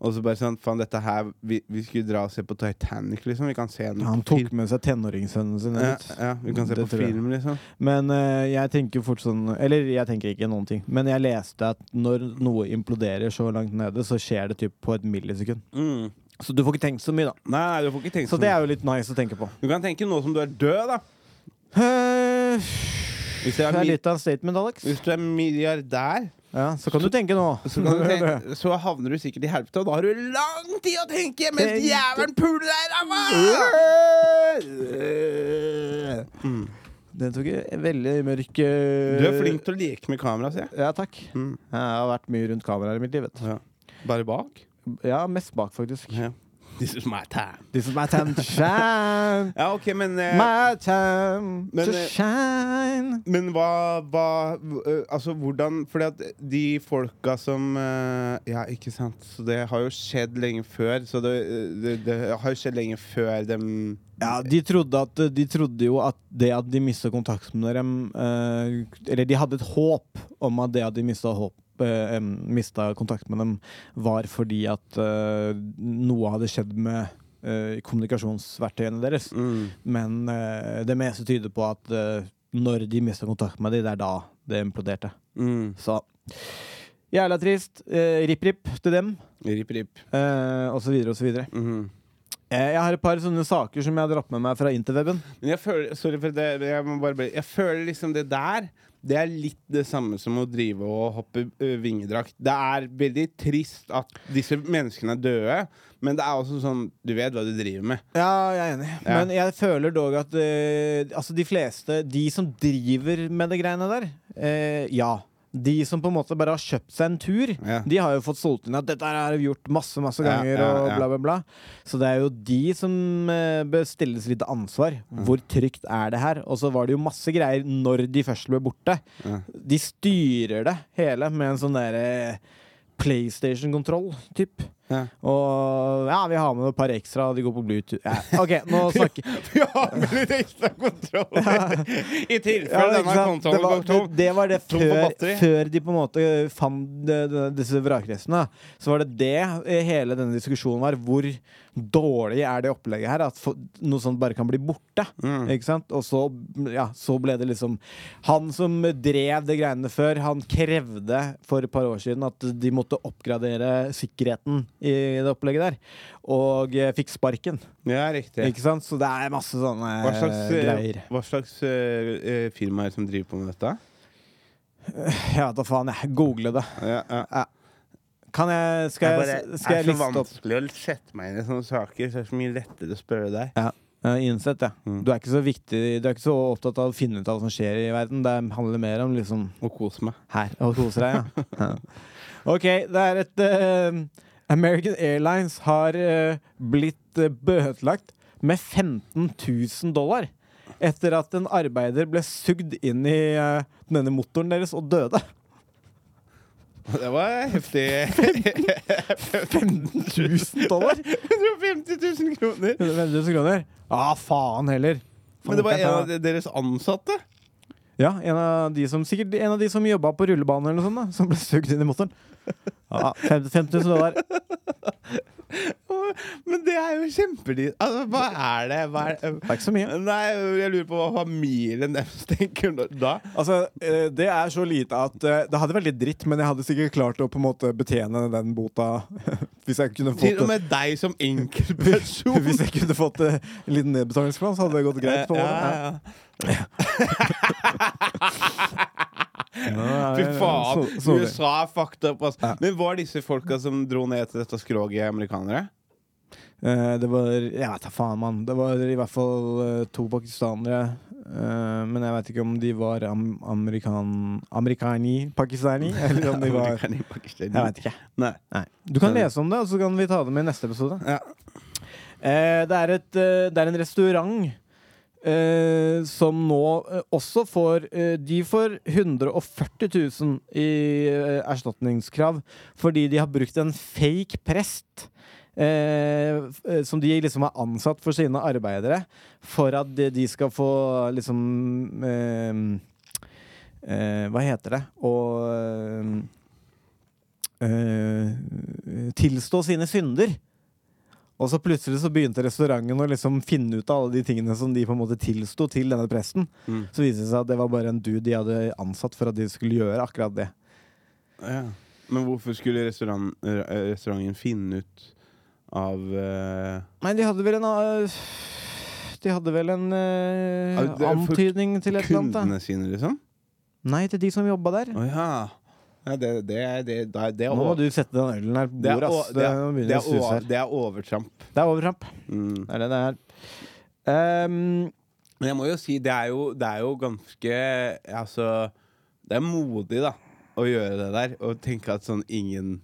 Speaker 2: Og så bare sånn Faen, dette her vi, vi skulle dra og se på Titanic, liksom. Vi kan se den
Speaker 3: Han
Speaker 2: på film.
Speaker 3: tok med seg tenåringssønnen sin
Speaker 2: Ja,
Speaker 3: ut.
Speaker 2: ja, vi kan se
Speaker 3: Det
Speaker 2: på
Speaker 3: tror jeg.
Speaker 2: film, liksom.
Speaker 3: Men eh, jeg tenker jo fort sånn Eller jeg tenker ikke noen ting, men jeg leste at når noe imploderer så langt nede, så skjer det typ på et millisekund.
Speaker 2: Mm.
Speaker 3: Så du får ikke tenkt så mye, da.
Speaker 2: Nei, du får ikke tenke
Speaker 3: Så
Speaker 2: så
Speaker 3: det
Speaker 2: mye.
Speaker 3: er jo litt nice å tenke på.
Speaker 2: Du kan tenke nå som du er død, da.
Speaker 3: Eh,
Speaker 2: Hvis du
Speaker 3: Det
Speaker 2: er,
Speaker 3: er
Speaker 2: mi
Speaker 3: litt av en statement, Alex.
Speaker 2: hvis du er milliardær,
Speaker 3: Ja, så kan du tenke nå.
Speaker 2: <laughs> så, kan du tenke, så havner du sikkert i helvete, og da har du lang tid å tenke mens
Speaker 3: Tenk-
Speaker 2: jævelen puler deg i ræva!
Speaker 3: Den tok en veldig mørk eh,
Speaker 2: Du er flink Mm. til å leke med kamera, sier jeg.
Speaker 3: Ja, takk. Jeg har vært mye rundt kameraer i mitt liv. vet du.
Speaker 2: Ja. Bare bak?
Speaker 3: Ja, mest bak, faktisk.
Speaker 2: Ja. This is my time.
Speaker 3: This is my time to
Speaker 2: <laughs>
Speaker 3: shine.
Speaker 2: Ja, ok, men eh,
Speaker 3: My time
Speaker 2: Men,
Speaker 3: to
Speaker 2: eh,
Speaker 3: shine.
Speaker 2: Men hva, hva eh, Altså, hvordan Fordi at de folka som eh, Ja, ikke sant. Så det har jo skjedd lenge før. Så det, eh, det, det har jo skjedd lenge før dem
Speaker 3: Ja, de trodde, at, de trodde jo at det at de mista kontakt med dem eh, Eller de hadde et håp om at det at de mista håp eh, em, mistet kontakt med dem, var fordi at eh, noe hadde skjedd med eh, kommunikasjonsverktøyene deres. Men eh, det meste tyder på at eh, når de mista kontakt med dem, det er da det imploderte.
Speaker 2: Mm.
Speaker 3: Så jævla trist. Eh, Ripp-ripp til dem,
Speaker 2: Rip, rip.
Speaker 3: eh, og så videre og så videre.
Speaker 2: Mhm.
Speaker 3: Eh, Jeg har et par sånne saker som jeg har dratt med meg fra interweben.
Speaker 2: Men jeg føler Sorry for det, men jeg, må bare, bli- jeg føler liksom det der Det er litt det samme som å drive og hoppe ø, vingedrakt. Det er veldig trist at disse menneskene er døde, men det er også sånn Du vet hva du driver
Speaker 3: <laughs>
Speaker 2: med.
Speaker 3: Ja, jeg er enig.
Speaker 2: Ja.
Speaker 3: Men jeg føler dog at eh, altså de fleste, de som driver med det greiene der, eh, ja. De som på en måte bare har kjøpt seg en tur,
Speaker 2: Ja.
Speaker 3: de har jo fått solgt inn at dette her har vi gjort masse masse
Speaker 2: Ja,
Speaker 3: ganger,
Speaker 2: ja,
Speaker 3: og
Speaker 2: ja.
Speaker 3: bla, bla, bla. Så det er jo de som eh, bør stilles litt ansvar.
Speaker 2: Mm.
Speaker 3: Hvor trygt er det her? Og så var det jo masse greier når de først ble borte.
Speaker 2: Ja.
Speaker 3: De styrer det hele med en sånn derre PlayStation-kontroll, typ.
Speaker 2: Ja.
Speaker 3: Og ja, vi har med et par ekstra, og de går på Bluetooth. Ja, OK, nå
Speaker 2: <laughs>
Speaker 3: snakker
Speaker 2: Vi har med litt ekstra kontroll <laughs> i
Speaker 3: Ja,
Speaker 2: tilfelle
Speaker 3: ikke
Speaker 2: denne
Speaker 3: sant? det,
Speaker 2: kontoen
Speaker 3: var,
Speaker 2: går
Speaker 3: det,
Speaker 2: tom.
Speaker 3: det var det
Speaker 2: Tom for
Speaker 3: før,
Speaker 2: batteri.
Speaker 3: før de på en måte eh, fant de- de- disse vrakrestene. Så var det det eh, hele denne diskusjonen var. Hvor dårlig er det opplegget her? At fo- noe sånt bare kan bli borte.
Speaker 2: Mm.
Speaker 3: Ikke sant? Og så, ja, så ble det liksom Han som drev de greiene før, han krevde for et par år siden at de måtte oppgradere sikkerheten i det opplegget der. Og eh, fikk sparken.
Speaker 2: Ja, riktig.
Speaker 3: Ikke sant? Så det er masse sånne
Speaker 2: Hva slags,
Speaker 3: eh,
Speaker 2: ø,
Speaker 3: greier.
Speaker 2: hva slags ø, ø, firma er det som driver på med dette?
Speaker 3: Ja, da faen. Jeg google det.
Speaker 2: Ja, ja.
Speaker 3: Kan jeg, skal jeg,
Speaker 2: bare-
Speaker 3: skal
Speaker 2: det er
Speaker 3: jeg
Speaker 2: så
Speaker 3: liste opp?
Speaker 2: vanskelig å sette meg inn i sånne saker, så det er så mye lettere å spørre deg.
Speaker 3: Ja. eh, Innsett, ja.
Speaker 2: Mm.
Speaker 3: Du er ikke så viktig Du er ikke så opptatt av å finne ut av hva som skjer i verden. Det handler mer om liksom
Speaker 2: Og kose meg.
Speaker 3: her og kose deg.
Speaker 2: <laughs>
Speaker 3: Ja. Ja. OK, det er et eh, American Airlines har eh, blitt eh, bøtelagt med 15 000 dollar etter at en <laughs> arbeider ble sugd inn i eh, denne motoren deres og døde.
Speaker 2: Det var heftig.
Speaker 3: 1000
Speaker 2: <laughs>
Speaker 3: dollar?
Speaker 2: 150 000 kroner!
Speaker 3: 150 000 kroner? Ah, faen heller.
Speaker 2: Men det var en av
Speaker 3: Faen, jeg tar-
Speaker 2: de- deres ansatte.
Speaker 3: Ja, en av de som sikkert En av de som jobba på rullebanen eller noe sånt, da, som ble sugd inn i motoren. Ja, 50 000 dollar.
Speaker 2: Åh, Men det er jo kjempelig altså, Hva er det? Hva er det?
Speaker 3: Det er ikke så mye.
Speaker 2: Nei, jeg lurer på hva familien deres tenker nå- da.
Speaker 3: Altså, eh, Det er så lite at eh, det hadde vært litt dritt, men jeg hadde sikkert klart å på en måte betjene den bota <laughs> hvis jeg kunne
Speaker 2: Til
Speaker 3: fått
Speaker 2: og
Speaker 3: det.
Speaker 2: med deg som enkeltperson.
Speaker 3: <laughs> Hvis jeg kunne fått eh, en liten nedbetalingsplan, så hadde det gått greit. på en
Speaker 2: Eh, Ja,
Speaker 3: måte.
Speaker 2: ja, ja.
Speaker 3: Ja,
Speaker 2: Fy
Speaker 3: ja, ja,
Speaker 2: faen,
Speaker 3: så- så-
Speaker 2: USA er fucked up. ass.
Speaker 3: Ja.
Speaker 2: Men var disse folka som dro ned til dette skroget, amerikanere?
Speaker 3: Eh, Det var Jeg vet da faen, mann. Det var i hvert fall eh, to pakistanere. eh, Men jeg vet ikke om de var am amerikan... Amerikani-pakistani, eller om de var
Speaker 2: Amerikaner i Pakistan.
Speaker 3: Jeg vet ikke.
Speaker 2: Nei.
Speaker 3: Nei. Du kan lese om det, og så kan vi ta det med i neste episode.
Speaker 2: Ja.
Speaker 3: Eh, det, er et, eh, det er en restaurant eh, som nå eh, også får eh, De får 140 000 i eh, erstatningskrav fordi de har brukt en fake prest. Eh, f- eh, som de liksom har ansatt for sine arbeidere, for at de, de skal få liksom eh, eh, Hva heter det? Og eh, eh, tilstå sine synder. Og så plutselig så begynte restauranten å liksom finne ut av alle de tingene som de på en måte tilsto til denne presten.
Speaker 2: Mm.
Speaker 3: Så viste det seg at det var bare en dude de hadde ansatt for at de skulle gjøre akkurat det.
Speaker 2: Ja. Men hvorfor skulle restaurant, eh, restauranten finne ut av eh,
Speaker 3: Nei, de hadde vel en eh, De hadde vel en eh,
Speaker 2: Ja, det er for
Speaker 3: antydning til et eller annet. da.
Speaker 2: kundene sine, liksom?
Speaker 3: Nei, til de som jobba der.
Speaker 2: Å ja. ja. Det, det, er- det, det, er- det er
Speaker 3: Nå må
Speaker 2: over-
Speaker 3: du sette den ølen her på
Speaker 2: det er
Speaker 3: bordet, ass.
Speaker 2: o-
Speaker 3: Det,
Speaker 2: det er-
Speaker 3: nå
Speaker 2: det
Speaker 3: begynner det å
Speaker 2: er
Speaker 3: snuse
Speaker 2: o-
Speaker 3: her.
Speaker 2: det er overtramp.
Speaker 3: Det er overtramp.
Speaker 2: Mm.
Speaker 3: Det er det det er. Ehm,
Speaker 2: Men jeg må jo si, det er jo, det er jo ganske Altså, det er modig, da, å gjøre det der. Og tenke at sånn ingen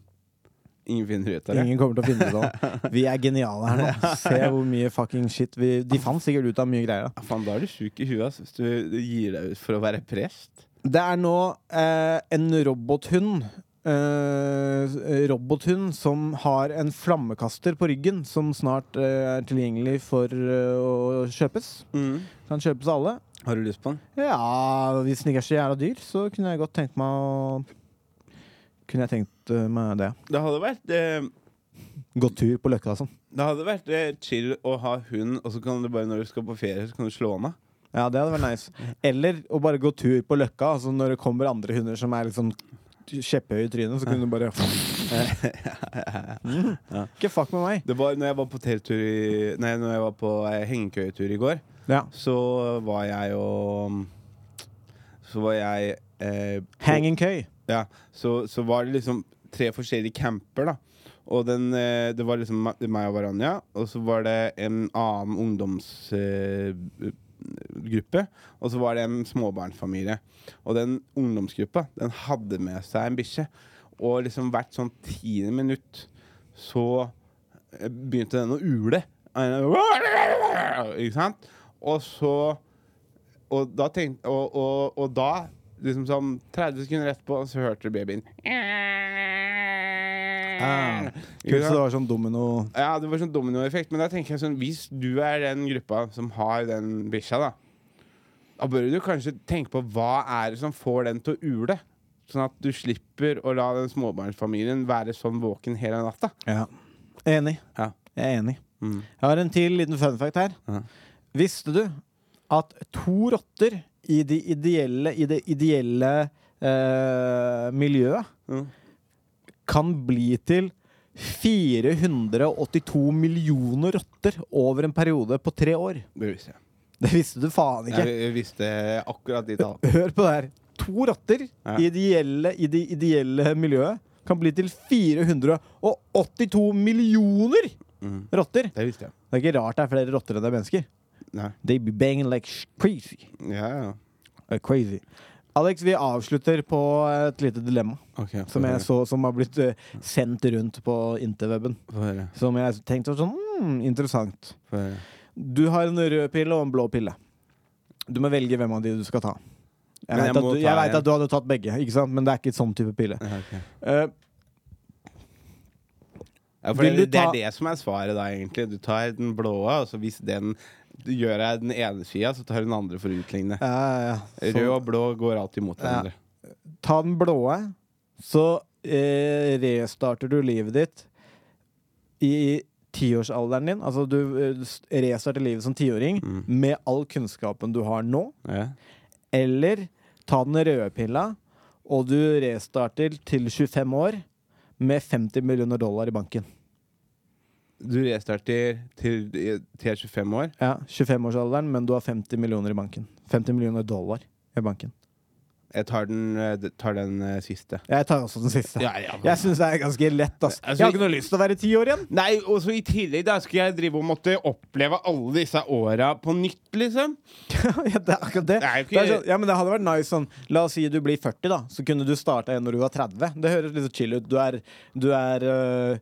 Speaker 2: Ingen finner ut av det.
Speaker 3: Ingen kommer til å finne ut av <laughs> det. Vi er geniale her nå. Se hvor mye fucking shit vi De fant sikkert ut av mye greier. da.
Speaker 2: Ja, Faen, da er du sjuk i huet ass, hvis du gir deg ut for å være prest.
Speaker 3: Det er nå eh, en robothund. Eh, robothund som har en flammekaster på ryggen, som snart eh, er tilgjengelig for eh, å kjøpes. Kan kjøpes av alle.
Speaker 2: Har du lyst på den?
Speaker 3: Ja, hvis den ikke er så jævla dyr, så kunne jeg godt tenkt meg å Kunne jeg tenkt eh, meg det.
Speaker 2: Det hadde vært, eh,
Speaker 3: Gå tur på Løkka og sånn.
Speaker 2: det hadde vært eh, chill å ha hund, og så kan du bare når du skal på ferie, så kan du slå den av.
Speaker 3: Ja, det hadde vært nice. Eller å bare gå tur på Løkka. Altså når det kommer andre hunder som er litt sånn kjepphøye i trynet, så kunne du bare Mm. Ikke fuck med meg.
Speaker 2: Det var når jeg var på telttur i Nei, når jeg var på eh, hengekøyetur i går,
Speaker 3: Ja.
Speaker 2: så var jeg jo Så var jeg eh, på-
Speaker 3: Hang in køy.
Speaker 2: Ja, så, så var det liksom tre forskjellige camper, da. Og den, eh, det var liksom ma- meg og Varanja, og så var det en annen ungdomsgruppe. Gruppe, og så var det en småbarnsfamilie. Og den ungdomsgruppa den hadde med seg en bikkje. Og liksom hvert sånn tiende minutt så eh, begynte den å ule. Ikke sant? Og så og da, tenkte, og, og, og da liksom sånn 30 sekunder etterpå, så hørte du babyen.
Speaker 3: Ah. Kult så det var sånn domino
Speaker 2: Ja, det var sånn dominoeffekt. Men da tenker jeg sånn, hvis du er den gruppa som har den bikkja, da, da bør du kanskje tenke på hva er det som får den til å ule. Sånn at du slipper å la den småbarnsfamilien være sånn våken hele natta.
Speaker 3: Ja. Enig.
Speaker 2: Ja.
Speaker 3: Jeg er enig.
Speaker 2: Mm.
Speaker 3: Jeg har en til liten fun fact her.
Speaker 2: Ja.
Speaker 3: Visste du at to rotter i, de ideelle, i det ideelle eh, miljøet
Speaker 2: Mm.
Speaker 3: kan bli til 482 millioner rotter over en periode på tre år?
Speaker 2: Det visste jeg.
Speaker 3: Det visste du faen ikke.
Speaker 2: Jeg, jeg visste akkurat de tallene.
Speaker 3: Hør på det her. To rotter
Speaker 2: Ja.
Speaker 3: i, ideelle, i det ideelle miljøet kan bli til 482 millioner
Speaker 2: Mm.
Speaker 3: rotter.
Speaker 2: Det visste jeg.
Speaker 3: Det er ikke rart det er flere rotter enn det er mennesker.
Speaker 2: Nei.
Speaker 3: They be banging like sh- crazy.
Speaker 2: Ja, ja.
Speaker 3: Uh, crazy. Alex, vi avslutter på et lite dilemma
Speaker 2: Ok,
Speaker 3: som jeg så som har blitt eh, sendt rundt på interweben.
Speaker 2: Få høre.
Speaker 3: Som jeg tenkte var sånn mm, interessant.
Speaker 2: Få høre.
Speaker 3: Du har en rød pille og en blå pille. Du må velge hvem av de du skal ta. Jeg
Speaker 2: Men jeg
Speaker 3: vet at,
Speaker 2: må
Speaker 3: du-
Speaker 2: ta
Speaker 3: jeg vet
Speaker 2: en.
Speaker 3: at du hadde tatt begge, ikke sant? men det er ikke sånn type pille. Eh,
Speaker 2: Ja, for
Speaker 3: Vil
Speaker 2: det,
Speaker 3: du
Speaker 2: det er
Speaker 3: ta-
Speaker 2: det som er svaret, da, egentlig. Du tar den blå, og så hvis den du gjør deg den ene sida, så tar du den andre for å utligne.
Speaker 3: ja, ja,
Speaker 2: Rød
Speaker 3: ja.
Speaker 2: og blå går alltid mot hverandre.
Speaker 3: Så, ta den blåe, så eh, restarter du livet ditt i tiårsalderen din. Altså du eh, s- restarter livet som tiåring
Speaker 2: Mm.
Speaker 3: med all kunnskapen du har nå.
Speaker 2: Ja.
Speaker 3: Eller ta den røde pilla, og du restarter til 25 år med 50 millioner dollar i banken.
Speaker 2: Du restarter til, til jeg er 25 år.
Speaker 3: Ja, 25-årsalderen, men du har 50 millioner i banken. 50 millioner dollar i banken.
Speaker 2: Jeg tar den, eh, tar den eh, siste.
Speaker 3: Jeg tar også den siste.
Speaker 2: Ja, ja.
Speaker 3: Jeg syns det er ganske lett. Ass.
Speaker 2: Altså,
Speaker 3: jeg har ikke noe lyst til å være ti år igjen.
Speaker 2: Nei, og så i tillegg da skal jeg drive og måtte oppleve alle disse åra på nytt, liksom.
Speaker 3: <laughs> ja, det er akkurat det.
Speaker 2: Det er jo ikke-
Speaker 3: Det er sånn, ja, men det hadde vært nice sånn La oss si du blir 40, da. Så kunne du starta igjen når du var 30. Det høres litt så chill ut. Du er Du er øh,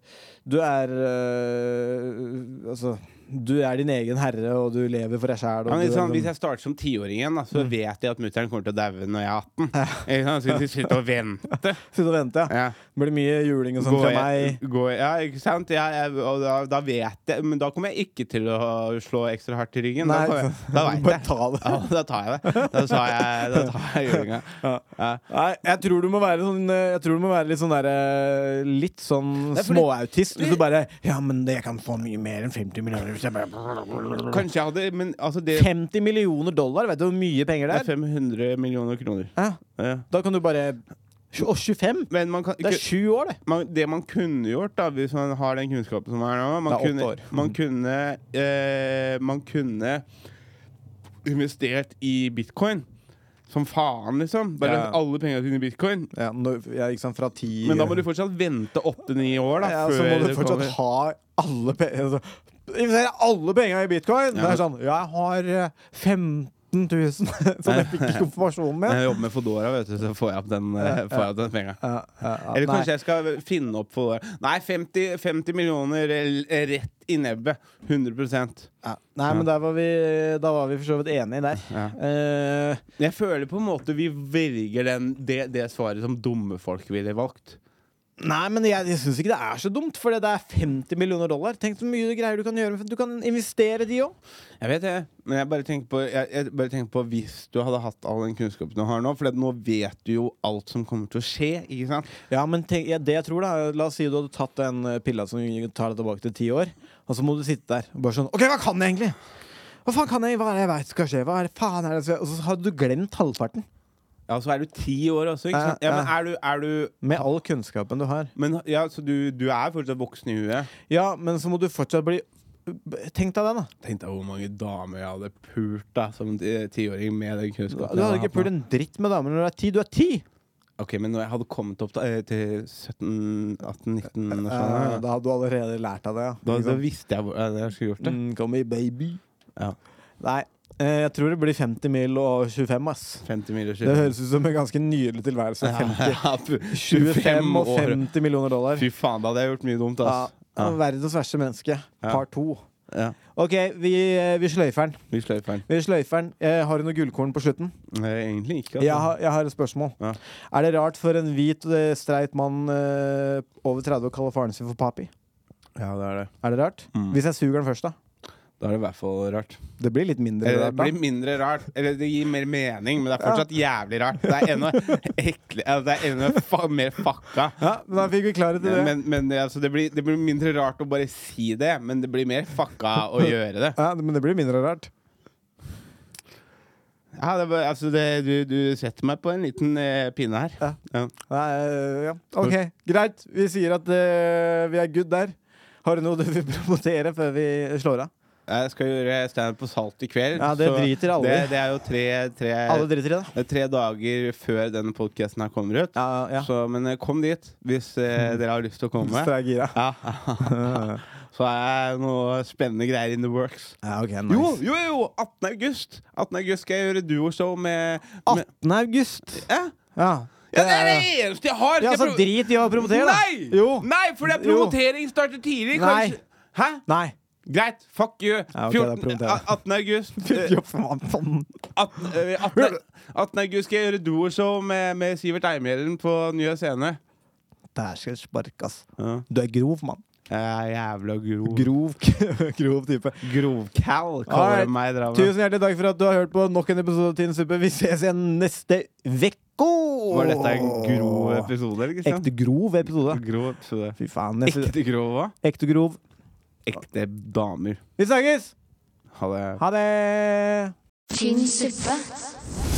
Speaker 3: Du er øh, Altså Du er din egen herre, og sånn du lever for deg
Speaker 2: Ja,
Speaker 3: sjæl.
Speaker 2: men Mm. liksom, hvis jeg starter som tiåring igjen, da, så vet jeg at mutter'n kommer til å daue når jeg er 18. Ikke sant? Så hvis jeg sitter og <laughs> venter.
Speaker 3: Sitte og vente, ja.
Speaker 2: Ja.
Speaker 3: Blir det mye juling og sånn
Speaker 2: Går
Speaker 3: fra
Speaker 2: jeg,
Speaker 3: meg.
Speaker 2: går, ja, ikke sant? Ja, jeg, og da, da vet jeg Men da kommer jeg ikke til å slå ekstra hardt i ryggen.
Speaker 3: Nei,
Speaker 2: da kommer jeg,
Speaker 3: <laughs>
Speaker 2: da
Speaker 3: bare
Speaker 2: vet jeg.
Speaker 3: ta det.
Speaker 2: Ja, da tar jeg det. Da tar jeg, da tar jeg julinga. Ja.
Speaker 3: Nei, jeg tror du må være sånn øh, Jeg tror du må være litt sånn derre Litt sånn
Speaker 2: Nei, fordi-
Speaker 3: småautist. Hvis du bare Ja, men det kan få mye mer enn 50 millioner. Hvis jeg bare
Speaker 2: Kanskje jeg hadde Men altså, det,
Speaker 3: 50 millioner dollar, vet du hvor mye penger
Speaker 2: det
Speaker 3: det
Speaker 2: er
Speaker 3: er?
Speaker 2: 500 millioner kroner.
Speaker 3: Hæ?
Speaker 2: Ja.
Speaker 3: Da kan du bare Å, 25?
Speaker 2: Men man kan
Speaker 3: Det er sju år, det.
Speaker 2: man, det man kunne gjort, da, hvis man har den kunnskapen som er nå Man
Speaker 3: Det er åtte
Speaker 2: kunne,
Speaker 3: år. Mm.
Speaker 2: man kunne, eh, man kunne investert i bitcoin. Som faen, liksom. Bare
Speaker 3: Ja.
Speaker 2: alle pengene sine i bitcoin.
Speaker 3: Ja, nå- ja, ikke sant, fra ti
Speaker 2: Men da må du fortsatt vente åtte-ni år. da
Speaker 3: ja, Så
Speaker 2: før
Speaker 3: må du
Speaker 2: det
Speaker 3: fortsatt
Speaker 2: kommer.
Speaker 3: ha alle pengene altså, Investere alle pengene i bitcoin! Det
Speaker 2: men-
Speaker 3: er sånn Jeg har eh, 15 000 <laughs> som jeg fikk i
Speaker 2: <laughs>
Speaker 3: konfirmasjonen
Speaker 2: Når
Speaker 3: med.
Speaker 2: jeg jobber med Fodora, vet du, så får jeg opp den, eh, får jeg opp den penga.
Speaker 3: Ja, ja, ja,
Speaker 2: Eller
Speaker 3: nei.
Speaker 2: kanskje jeg skal finne opp Fodora. Nei, 50, 50 millioner eh, rett i nebbet. 100
Speaker 3: ja. Nei, men der var vi, da var vi for så vidt enige der.
Speaker 2: Ja.
Speaker 3: Eh,
Speaker 2: Jeg føler på en måte vi velger den, det, det svaret som dumme folk ville valgt.
Speaker 3: Nei, men jeg, jeg syns ikke det er så dumt, for det er 50 millioner dollar. Tenk så mye greier du kan gjøre. med- Du kan investere de òg.
Speaker 2: Jeg vet det, men jeg bare tenker på, jeg, jeg bare tenker på hvis du hadde hatt all den kunnskapen du har nå, for nå vet du jo alt som kommer til å skje, ikke sant?
Speaker 3: Ja, men tenk, ja, det jeg tror da er- La oss si du hadde tatt den eh, pilla som tar deg tilbake til ti år, og så må du sitte der og bare sånn OK, hva kan jeg egentlig? Hva faen kan jeg? Hva er det jeg veit skal skje? Hva er det faen er det som Og så hadde du glemt halvparten.
Speaker 2: Ja, så er du ti år også, ikke
Speaker 3: Ja,
Speaker 2: sant? Ja, men
Speaker 3: ja.
Speaker 2: er du, er du
Speaker 3: Med all kunnskapen du har.
Speaker 2: men, ja, Så du, du er fortsatt voksen i huet?
Speaker 3: Ja, men så må du fortsatt bli b- Tenk deg den, da.
Speaker 2: Tenk deg hvor mange damer jeg hadde pult da som ti- tiåring med den
Speaker 3: Du,
Speaker 2: kunnskapen.
Speaker 3: du
Speaker 2: jeg
Speaker 3: hadde ikke
Speaker 2: hatt
Speaker 3: pult
Speaker 2: nå.
Speaker 3: en dritt med damer når du er ti. Du er ti!
Speaker 2: Ok, Men når jeg hadde kommet opp da, eh, til 17-18-19
Speaker 3: Eh, da hadde du allerede lært av det, ja.
Speaker 2: sånn da,
Speaker 3: Ikke
Speaker 2: da
Speaker 3: sant?
Speaker 2: visste jeg hvordan jeg skulle gjort det.
Speaker 3: Mm, come here, baby.
Speaker 2: Ja.
Speaker 3: Nei, eh, jeg tror det blir 50 mil og 25, ass.
Speaker 2: 50 mil og
Speaker 3: Mm. Det
Speaker 2: 25.
Speaker 3: høres ut som en ganske nydelig tilværelse. 50.
Speaker 2: Ja,
Speaker 3: 25 og
Speaker 2: år.
Speaker 3: 50 millioner dollar.
Speaker 2: Fy faen, da hadde jeg gjort mye dumt,
Speaker 3: Ja,
Speaker 2: ass. Ja.
Speaker 3: Verdens verste menneske. Par to.
Speaker 2: Ja.
Speaker 3: OK, vi, eh, vi sløyfer den.
Speaker 2: Vi sløyfer den.
Speaker 3: Vi sløyfer den. Eh, Har du noe gullkorn på slutten?
Speaker 2: Nei, Egentlig ikke.
Speaker 3: Jeg
Speaker 2: Altså.
Speaker 3: har, jeg har et spørsmål.
Speaker 2: Ja.
Speaker 3: Er det rart for en hvit, eh, streit mann eh, over 30 å kalle faren sin for papi?
Speaker 2: Ja, det er det. Mm.
Speaker 3: Er det rart? Hvis jeg suger den først, da?
Speaker 2: Da er det i hvert fall rart.
Speaker 3: Det blir litt mindre
Speaker 2: Eller, Eh, det
Speaker 3: rart, da.
Speaker 2: blir mindre rart. Eller det gir mer mening, men det er fortsatt jævlig rart. Det er ennå <laughs> ekle ja, Det er ennå fa mer fucka.
Speaker 3: Ja, men da fikk vi klarhet i det.
Speaker 2: Men, men det, altså, det, blir, det blir mindre rart å bare si det, men det blir mer fucka
Speaker 3: <laughs>
Speaker 2: å gjøre det.
Speaker 3: ja, men det blir mindre rart.
Speaker 2: Ja, det, er bare- altså, det, du, du setter meg på en liten eh, pinne her.
Speaker 3: Ja.
Speaker 2: Ja.
Speaker 3: Nei, eh, ja. OK, greit. Vi sier at eh, vi er good der. Har du noe du vil promotere før vi slår av?
Speaker 2: Jeg skal gjøre standup på Salt i kveld.
Speaker 3: Ja, det
Speaker 2: så
Speaker 3: driter alle i.
Speaker 2: Det, det er jo tre, tre,
Speaker 3: Alle driter i det.
Speaker 2: det er tre dager før denne podkasten her kommer ut.
Speaker 3: Ja, ja.
Speaker 2: Så, men eh, kom dit hvis <laughs> eh, dere har lyst til å komme.
Speaker 3: Så er jeg gira.
Speaker 2: Ja. <laughs> Så er det noe spennende greier in the works.
Speaker 3: Ja, ok, nice.
Speaker 2: Jo, jo, jo! 18. august 18. august skal jeg gjøre duoshow med, med
Speaker 3: 18. august.
Speaker 2: ja.
Speaker 3: Ja.
Speaker 2: ja, det er det eneste jeg har! Skal
Speaker 3: Ja,
Speaker 2: jeg
Speaker 3: så
Speaker 2: pro-
Speaker 3: drit i å promotere, da.
Speaker 2: Nei!
Speaker 3: Jo.
Speaker 2: Nei, fordi
Speaker 3: Jo.
Speaker 2: promotering starter tidlig.
Speaker 3: Nei.
Speaker 2: Kanskje. Hæ?
Speaker 3: Nei.
Speaker 2: Greit, fuck you!
Speaker 3: Ja, ok, da
Speaker 2: 14,
Speaker 3: promoterer jeg.
Speaker 2: 18. <laughs> august. eh,
Speaker 3: Ja, faen, sånn faen.
Speaker 2: 18, eh, 18, 18 august skal jeg gjøre duoshow med, med Sivert Eimjæren på Nye Scene.
Speaker 3: Dæsken spark, ass.
Speaker 2: Ja.
Speaker 3: Du er grov, mann.
Speaker 2: Jeg er jævla grov.
Speaker 3: Grov, <laughs> grov type.
Speaker 2: Grovcal,
Speaker 3: All
Speaker 2: kaller
Speaker 3: right.
Speaker 2: de meg i Drammen.
Speaker 3: Tusen hjertelig takk for at du har hørt på nok en episode av Tynn suppe. Vi ses igjen neste uke!
Speaker 2: Var dette en grov episode, eller, Kristian?
Speaker 3: Ekte grov episode.
Speaker 2: grov episode.
Speaker 3: Fy faen. jeg synes-
Speaker 2: Ekte grov hva?
Speaker 3: Ekte grov.
Speaker 2: Ekte damer.
Speaker 3: Vi snakkes!
Speaker 2: Ha det.
Speaker 3: Ha det!
Speaker 1: tynn suppe.